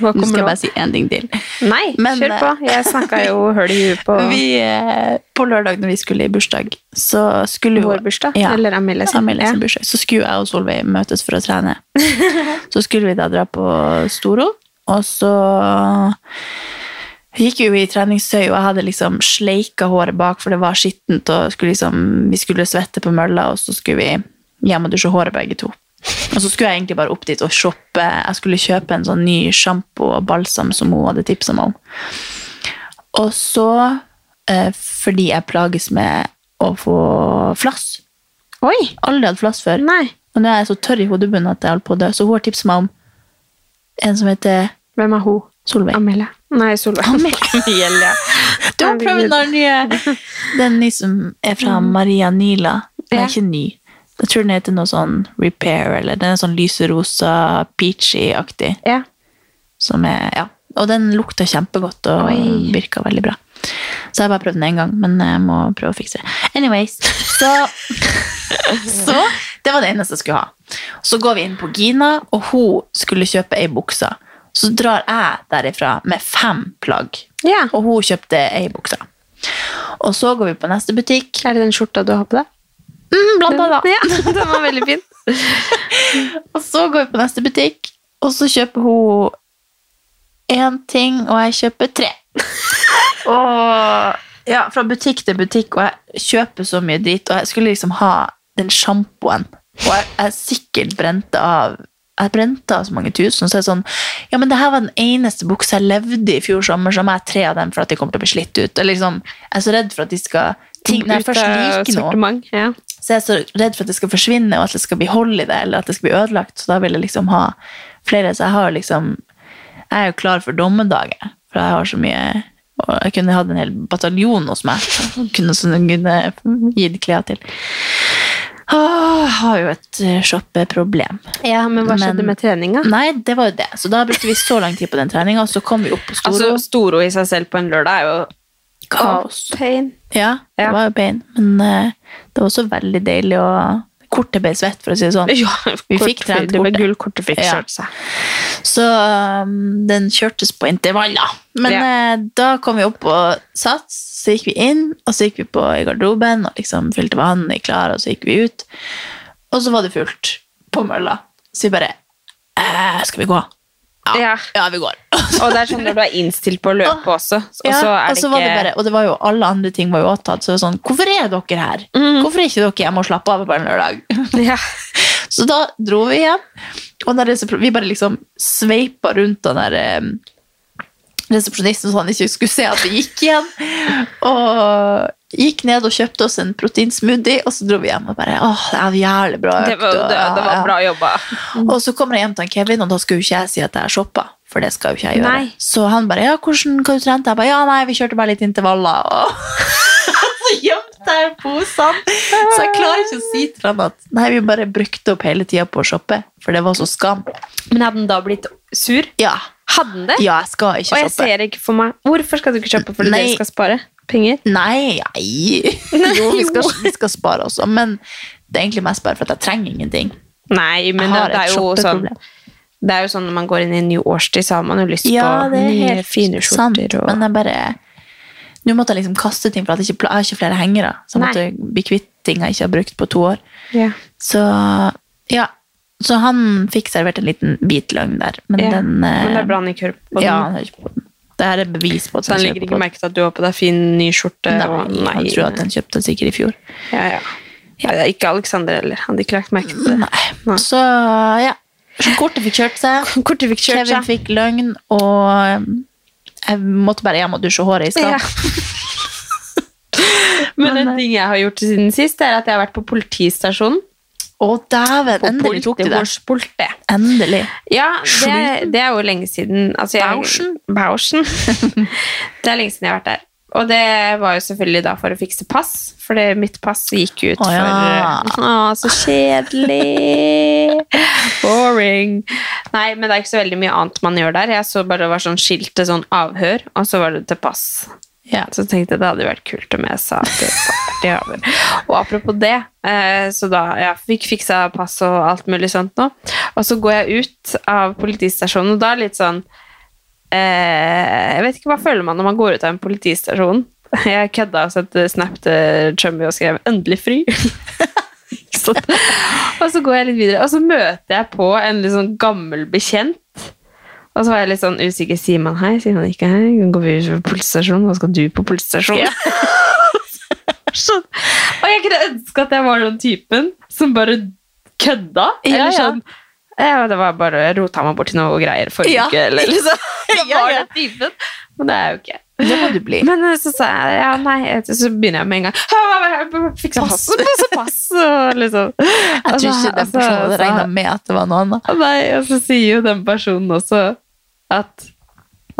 Hva
Nå skal
kommer
jeg
nå?
bare si én ting til.
Nei,
Men,
kjør på.
eh,
Jeg snakka jo høl i huet på
Vi, eh, på lørdag når vi skulle i bursdag, så skulle jo-
Vår bursdag,
Ja,
eller Amelie sin.
Amelie sin
Ja.
bursdag. Så skulle jeg og Solveig møtes for å trene. så skulle vi da dra på Storo, og så gikk jo i treningstøy, og jeg hadde liksom sleika håret bak, for det var skittent, og skulle liksom, vi skulle svette på mølla, og så skulle vi hjem og dusje håret begge to. Og så skulle jeg egentlig bare opp dit og shoppe. Jeg skulle kjøpe en sånn ny sjampo og balsam som hun hadde tipsa meg om. Og så, eh, fordi jeg plages med å få flass.
Oi!
Aldri hatt flass før. Og nå er jeg så tørr i hodebunnen at jeg holder på å dø. Så hun har tipset meg om en som heter
Hvem er hun?
Solveig.
Amelia. Nei, Solveig.
Ah.
Amelia.
Du har prøvd den der nye Den nye som er fra Maria Nila. Den er ikke ny. Jeg tror den heter noe sånn Repair, eller den er sånn lyserosa, peachy-aktig. Som er, ja. Og den lukta kjempegodt og virka veldig bra. Så jeg har bare prøvd den én gang, men jeg må prøve å fikse det. Anyways, så, så Det var det eneste jeg skulle ha. Så går vi inn på Gina, og hun skulle kjøpe ei bukse. Så drar jeg derifra med fem plagg, og hun kjøpte ei bukse. Og så går vi på neste butikk.
Er det den skjorta du har på deg?
Mm, blant annet.
Ja, den var veldig fin.
Og så går vi på neste butikk, og så kjøper hun én ting, og jeg kjøper tre. og ja, fra butikk til butikk, og jeg kjøper så mye dritt, og jeg skulle liksom ha den sjampoen, og jeg, jeg sikkert brente av jeg brente av så mange tusen, så er det sånn Ja, men det her var den eneste buksa jeg levde i i fjor sommer, så må jeg ha tre av dem for at de kommer til å bli slitt ut. Eller liksom, jeg er så redd for at de skal ting, Når jeg først liker noe,
Sortiment, ja.
så jeg er så redd for at det skal forsvinne, og at det skal bli hold i det, eller at det skal bli ødelagt. Så da vil jeg liksom ha flere. Så jeg har liksom Jeg er jo klar for dommedag, jeg. for jeg har så mye og Jeg kunne hatt en hel bataljon hos meg. Jeg Kunne, som jeg kunne gitt klær til. Åh, jeg har jo et eh, shoppeproblem.
ja, men hva skjedde
Men- Mm.
med treninga?
Nei, det var jo det. Så da brukte vi så lang tid på den treninga, og så kom vi opp på Storo.
Altså, Storo i seg selv på en lørdag er jo
Kaos.
Pain.
ja, det var jo pain, men eh, det var også veldig deilig å Kortet ble svett, for å si det sånn.
Ja,
vi
kort
fikk trent
fikk- det ble
kortet.
gull, kortet fikk
Ja.
kjørt seg.
Så um, den kjørtes på intervaller. Men
Ja.
eh, da kom vi opp på sats, så gikk vi inn, og så gikk vi på i garderoben og liksom fylte vann i klar, og så gikk vi ut. Og så var det fullt på mølla. Så vi bare eh, Skal vi gå? Ja, ja. vi går.
Og det er sånn når du er innstilt på å løpe også, og
Ja,
så er
og
det
så var det bare,
ikke
og det var jo alle andre ting var jo opptatt, så det var sånn, hvorfor er dere her?
Mm.
Hvorfor er ikke dere hjemme og slappe av på en lørdag? Så da dro vi hjem, og den resepsjon- vi bare liksom sveipet rundt den der eh, resepsjonisten så han ikke skulle se at vi gikk igjen, og gikk ned og kjøpte oss en proteinsmoothie, og så dro vi hjem og bare, åh, det er jævlig bra
Det
økt,
var,
og-
det, det
ja, ja.
var bra jobba.
Og så kommer jeg hjem til han Kevin, og da skal jo ikke jeg si at jeg har shoppa. For det skal jo ikke jeg gjøre.
Nei.
Så han bare ja, 'Hvordan hva du trente?' Jeg bare 'Ja, nei, vi kjørte bare litt intervaller'. Og så gjemte jeg posene! Så jeg klarer ikke å si til han at nei, vi bare brukte opp hele tida på å shoppe. For det var så skam.
Men hadde den da blitt sur?
Ja,
Hadde den det?
ja jeg skal
Og
ikke
jeg
shoppe.
ser ikke for meg Hvorfor skal du ikke kjøpe fordi
Nei.
dere skal spare penger?
Nei, nei. Jo, vi skal, vi skal spare også, men det er egentlig mest bare for at jeg trenger ingenting.
Nei, men
Jeg har
det
et
er jo sånn
shoppeproblem.
det er jo sånn Når man går inn i en ny årstid, så har man jo lyst
Ja,
på
det er
nye,
helt
fine
sant,
skjorter. Og...
men jeg bare Nå måtte jeg liksom kaste ting, for at jeg, ikke, pla- jeg har ikke flere hengere. Så jeg
Nei.
måtte bli kvitt ting jeg ikke har brukt på to år.
Ja.
Så ja. Så han fikk servert en liten bit løgn der, men
Ja,
den eh,
men det er bra han ikke hører på den.
Ja, han hører ikke på den. Det her er bevis på at
så han legger ikke merke til at du har på deg fin, ny skjorte.
Nei,
og,
han tror at den kjøpte den sikkert i fjor.
ja, ja. Ja, det er ikke Alexander heller. Han hadde ikke lagt merke til det.
Så ja, så kortet fikk kjørt seg.
Kortet fikk kjørt
Kevin
seg.
fikk løgn, og um, Jeg måtte bare hjem og dusje håret i stad.
Men en
eh,
ting jeg har gjort siden sist, er at jeg har vært på politistasjonen.
Å, dæven! Endelig tok du det. Endelig.
Ja, det, det er jo lenge siden. Altså, jeg, Bauschen. det er lenge siden jeg har vært der. Og det var jo selvfølgelig da for å fikse pass, for det, mitt pass gikk ut
Å, ja.
for Å, så kjedelig! Boring. Nei, men det er ikke så veldig mye annet man gjør der. Jeg så bare det var sånn skilt til sånn avhør, og så var det til pass. Så tenkte jeg det hadde vært kult om jeg sa at det var til avhør. Og apropos det, eh, så da jeg fikk fiksa pass og alt mulig sånt nå, og så går jeg ut av politistasjonen, og da er det litt sånn Eh, jeg vet ikke, Hva føler man når man går ut av en politistasjon? Jeg kødda og sendte snap til Chummy og skrev 'endelig fri'. Ikke sant? og så går jeg litt videre, og så møter jeg på en litt sånn gammel bekjent. Og så var jeg litt sånn usikker. Sier man hei, sier man ikke hei? Går vi på politistasjonen? Hva skal du på politistasjonen? sånn. Og jeg kunne ønske at jeg var den typen som bare kødda.
Ja,
Eller
ja.
sånn ja, det var bare jeg rota meg borti noe greier forrige
Ja.
uke, eller liksom. Jeg
Ja,
var
ja.
den typen, men det er jeg jo ikke.
Det må du bli.
Men eh, så sa jeg ja, nei, jeg- så begynner jeg med en gang «Hva, hva, hva, hva, Fiksa
Pass.
passen, og så pass, og liksom. Jeg
Jeg tror ikke den personen
altså,
hadde regna med sånn at det var noe annet.
Nei, og så sier jo den personen også at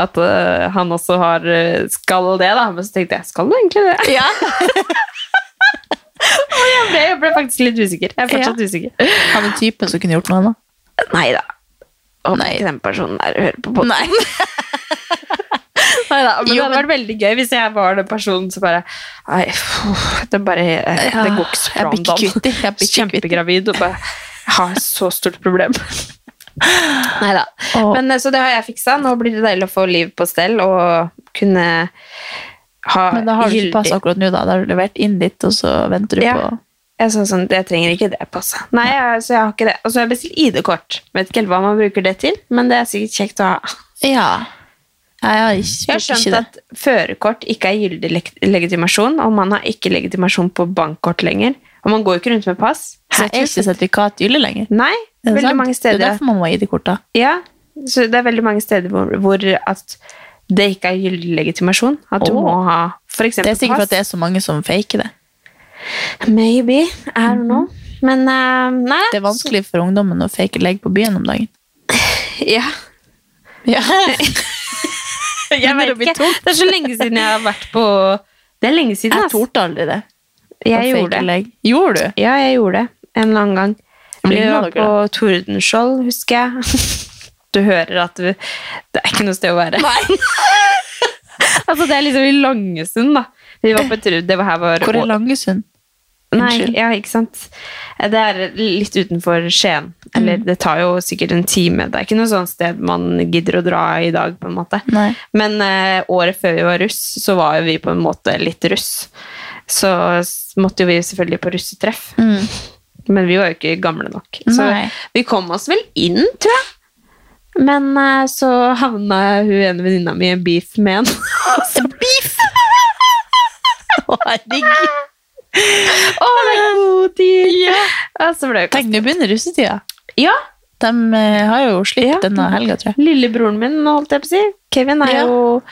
at eh, han også har eh, skal det, da. Men så tenkte jeg skal du egentlig det?
Ja.
og jeg ble, jeg ble faktisk litt usikker. Jeg er fortsatt usikker.
Han er typen som kunne gjort noe annet.
Nei da. Håper ikke den personen der hører på podden.
Nei.
Neida,
Jo,
men det hadde
men-
vært veldig gøy hvis jeg var den personen som bare Nei, pff, det bare eh,
Ja,
Det går ikke så
jeg
bra
blir
om
ikke kvitt det, jeg blir
dagen.
ikke kvitt det.
Kjempegravid og bare Jeg har et så stort problem. Nei da.
Åh.
Men eh, så det har jeg fiksa. Nå blir det deilig å få liv på stell og kunne ha
Men da har du ikke pass
gyldig-
akkurat nå, da. Da har du levert inn litt, og så venter du
Ja.
på
Jeg sa sånn, jeg trenger ikke det passet. Nei, jeg, så jeg har ikke det. Og så har jeg bestilt ID-kort. Vet ikke helt hva man bruker det til, men det er sikkert kjekt å ha.
Ja. Nei, Jeg har ikke,
Jeg har
ikke
skjønt
det.
at førerkort ikke er gyldig leg- legitimasjon, og man har ikke legitimasjon på bankkort lenger. Og man går jo ikke rundt med pass. Så
Her
jeg
er
tror-
ikke sertifikat gyldig lenger.
Nei,
Er det
veldig
sant?
mange
Det er
steder.
derfor man må ha ID-kort, da.
Ja, så det er veldig mange steder hvor, hvor at det ikke er gyldig legitimasjon. At du
Åh.
må ha for eksempel
Det er sikkert for
pass.
at det er så mange som faker det.
Maybe, I don't know. Men eh, nei,
Det er vanskelig for ungdommen å fake legg på byen om dagen.
ja.
Ja.
Jeg vet ikke. Det er så lenge siden jeg har vært på Det er lenge siden,
Jeg
altså.
torde altså aldri det. å
Jeg
fake
gjorde det.
Legg. Gjorde du?
Ja, jeg gjorde det en eller annen gang.
Men
Vi
ligner
var
dere,
på Tordenskjold, husker jeg. Du hører at du, det er ikke noe sted å være. altså, det er liksom i Langesund, da. Vi var på tur, det var her var
Hvor er Langesund?
Nei,
Unnskyld.
ja, ikke sant. Det er litt utenfor Skien. Eller
Mm.
det tar jo sikkert en time. Det er ikke noe sånt sted man gidder å dra i dag, på en måte.
Nei.
Men eh, året før vi var russ, så var jo vi på en måte litt russ. Så s- måtte jo vi selvfølgelig på russetreff.
Mm.
Men vi var jo ikke gamle nok. Så
Nei.
vi kom oss vel inn, tror jeg. Men eh, så havna hun ene venninna mi i en beef med en. Og så-
Altså, Beef! Å, Herregud.
Å, det er god tid! Og så ble hun
Tenk, nå begynner russetida.
Ja,
De eh, har jo slitt
Ja.
denne helga, tror jeg.
lillebroren min, holdt jeg på å si. Kevin er
Ja.
jo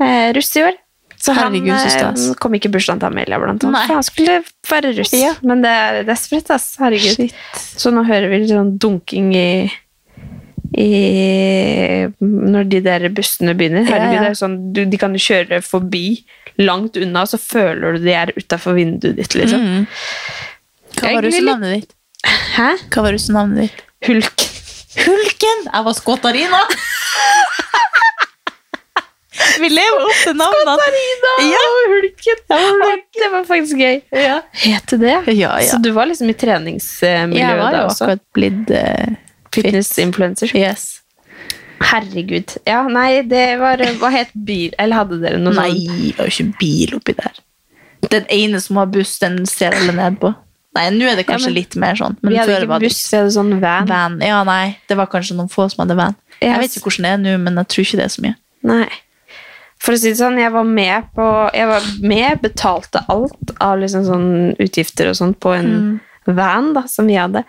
eh, russ i år. Så han
Herregud, så stas.
eh, kom ikke i bursdagen til Amelia, blant annet.
Nei.
For han skulle være russ.
Ja.
Men det er desperat, ass. Herregud. Så nå hører vi litt sånn dunking i, i Når de der bussene begynner.
Ja,
Herregud,
ja.
det er jo sånn, du, De kan jo kjøre forbi langt unna, og så føler du de er utafor vinduet ditt, liksom.
Mm. Hva var
Egentlig litt-
russenavnet ditt?
Hæ?
Hva var russenavnet ditt?
Hulk.
Hulken! Jeg var Skåtarina! Vi lever opp til navnene.
Tarina
Ja.
og Hulken! Og Det var faktisk gøy.
Ja.
Het det det?
Ja, ja.
Så du var liksom i treningsmiljøet
Jeg var
da
jo
også?
akkurat blitt eh,
Fitness-influencer.
Yes.
Herregud. Ja, nei, det var eh, Hva het bil... Eller hadde dere noe
Nei,
sånt?
det var jo ikke en bil oppi der. Den ene som har buss, den ser alle ned på. Nei, nå er det kanskje
Ja, men-
litt mer sånn. Men
vi hadde
før
ikke
var det
buss, vi hadde sånn van.
van. Ja, nei, det var kanskje noen få som hadde van.
Yes.
Jeg vet ikke hvordan det er nå, men jeg tror ikke det er så mye.
Nei. For å si det sånn, jeg var med på Jeg var med, betalte alt av liksom sånn utgifter og sånt på en van da, som vi hadde.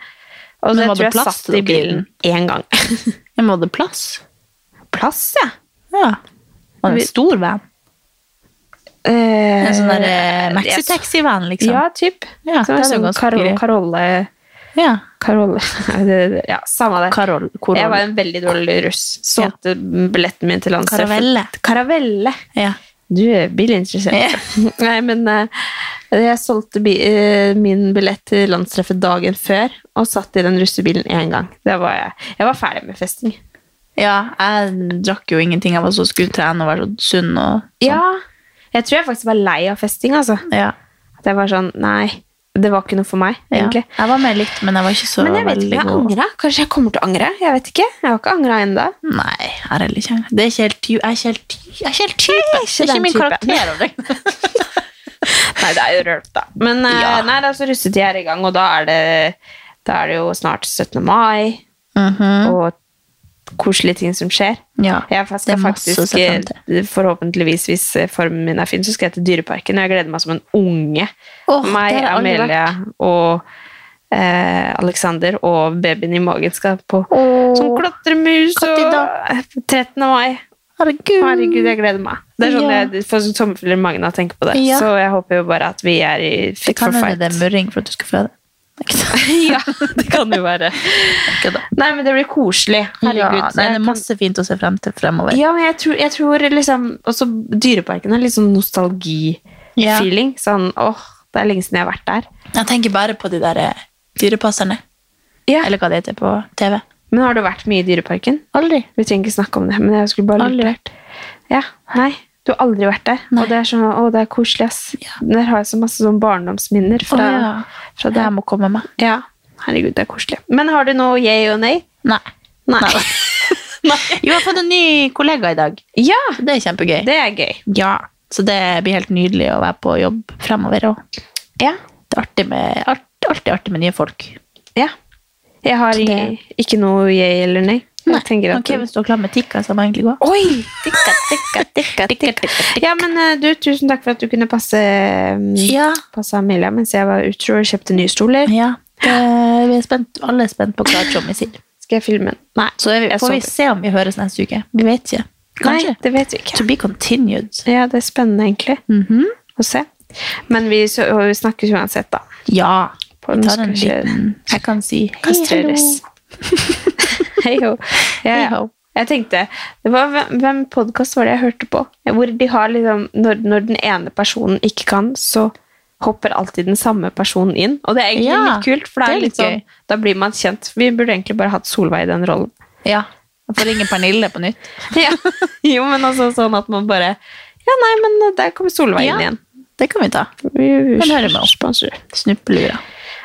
Og
Mm. Men
det
var
tror
det
jeg
plass
satt
til
i
dere i
bilen én gang.
Jeg må ha plass.
Plass, ja.
Ja. Var det en stor van? en sånn der eh,
jeg så-
maxitaxi-van, liksom?
Ja, typ.
Ja,
Som er
det er jo
sånn
ganske
Karol-
greit.
Karolle...
Ja.
Karolle Nei, det- Ja, samme det. Jeg var en veldig dårlig russ. Solgte billetten min til landsreffe.
Karavelle.
Karavelle. Du er bilinteressert. Nei, men eh, jeg solgte bi eh, min billett til landstreffet dagen før, og satt i den russebilen én gang. Det var jeg. jeg var ferdig med festing.
Ja, jeg drakk jo ingenting. Jeg var så skutt trene og var så sunn. Og
Ja, Sånn. jeg tror jeg faktisk var lei av festing, altså. At jeg var sånn, nei, det var ikke noe for meg,
Ja.
egentlig.
Jeg var med litt, men jeg var ikke så
Men jeg vet ikke,
veldig
jeg
god.
angret. Kanskje jeg kommer til å angre, jeg vet ikke. Jeg har ikke angret ennå.
Nei, jeg har heller ikke angret. Det er ikke helt ty- Jeg er ikke helt ty- jeg er ikke helt type. Det er
den
ikke min
typen.
karakter. å drikke.
Nei, det er jo rølp, da. Men eh,
Ja.
nei, det er så russetid er i gang, og da er det, da er det jo snart 17. mai,
Mm.
og koselige ting som skjer.
Mhm. Ja,
jeg
det
skal
er masse å
faktisk,
se frem til.
eh, forhåpentligvis, hvis eh, formen min er fin, så skal jeg til Dyreparken, og jeg gleder meg som en unge.
Åh,
meg,
det har jeg aldri
Amelia og eh, Alexander og babyen i magen skal på som klatremus. Og 13. mai.
Herregud.
jeg gleder meg. Det er sånn
Ja.
jeg får sommerfugler i magen av å tenke på det.
Ja.
Så jeg håper jo bare at vi er i
Det
fit
kan
for
hende
fight.
det er murring for at du skal føde.
ja, det kan jo være. Nei, men det blir koselig. Herregud.
Ja, nei, det er masse fint å se frem til fremover.
Ja, men jeg tror, jeg tror liksom Også Dyreparken er litt sånn
Ja.
nostalgi-feeling. Sånn åh, det er lenge siden jeg har vært der.
Jeg tenker bare på de der eh, dyrepasserne. Eller hva det heter på TV.
Men har du vært mye i Dyreparken? Aldri. Vi trenger ikke snakke om det, men jeg skulle bare
Aldri
vært. Ja, nei. Du har aldri vært der. Og det er sånn, å, det er koselig, ass. Der har jeg så masse sånn barndomsminner fra,
Å, ja.
fra det.
Jeg må komme meg.
Ja, herregud, det er koselig. Men har du noe yay og nei?
Nei.
Nei.
Jo, jeg har fått en ny kollega i dag.
Ja,
Det er kjempegøy.
det er gøy.
Ja, Så det blir helt nydelig å være på jobb fremover. Og
Ja,
det er artig med, art, alltid artig med nye folk.
ja. Jeg har i- ikke noe yay eller nei. Jeg tenker at...
Ok, Hvis du er klar med tikka, så må jeg egentlig gå.
Oi! Tikka, tikka, tikka, tikka, tikka. Ja, men eh, du, tusen takk for at du kunne passe, mm,
Ja.
passe Amelia mens jeg var utro og kjøpte nye stoler.
Ja, det, vi er spent, alle er spent på hva Tommy sier.
Skal jeg filme den? Nei,
Så er vi,
jeg
får vi
sover.
se om vi høres neste uke. Vi vet ikke. Kanskje.
Nei, det vet vi ikke.
To be continued. Mhm.
Ja, det er spennende egentlig å se. Men vi, så, og vi snakkes uansett, da.
Ja.
På
Vi
den
tar en
skal ikke
liten Jeg kan si hei, hallo.
Kastreres. Hei ho. Ja,
Hei,
ja.
ho.
Jeg tenkte, det var, hvem- Hvem podkast var det jeg hørte på? Hvor de har liksom, når, når den ene personen ikke kan, så hopper alltid den samme personen inn. Og det er egentlig
Ja,
litt kult, for det er litt
gøy.
sånn, da blir man kjent. Vi burde egentlig bare hatt Solveig i den rollen.
Ja. Jeg får ringe Pernille på nytt.
Ja. Jo, men altså sånn at man bare Ja, nei, men der kommer Solveig
Ja.
inn igjen.
Det kan vi ta.
Vi-
Den hører med oss.
Sponsor.
Snuppelura.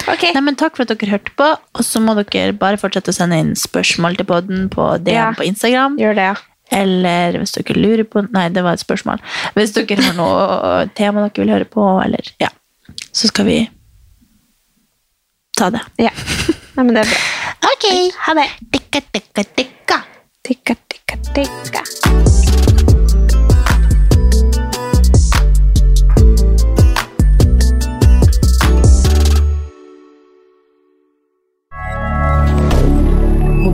Ok.
Nei, men takk for at dere hørte på, og så må dere bare fortsette å sende inn spørsmål til podden på DM
Ja.
på Instagram.
Gjør det, ja.
Eller hvis dere lurer på Nei, det var et spørsmål. Hvis dere har noe tema dere vil høre på, eller Ja. Så skal vi ta det.
ja. Nei, men det er bra.
Ok.
Ha det.
Tikka, tikka, tikka.
Tikka, tikka, tikka.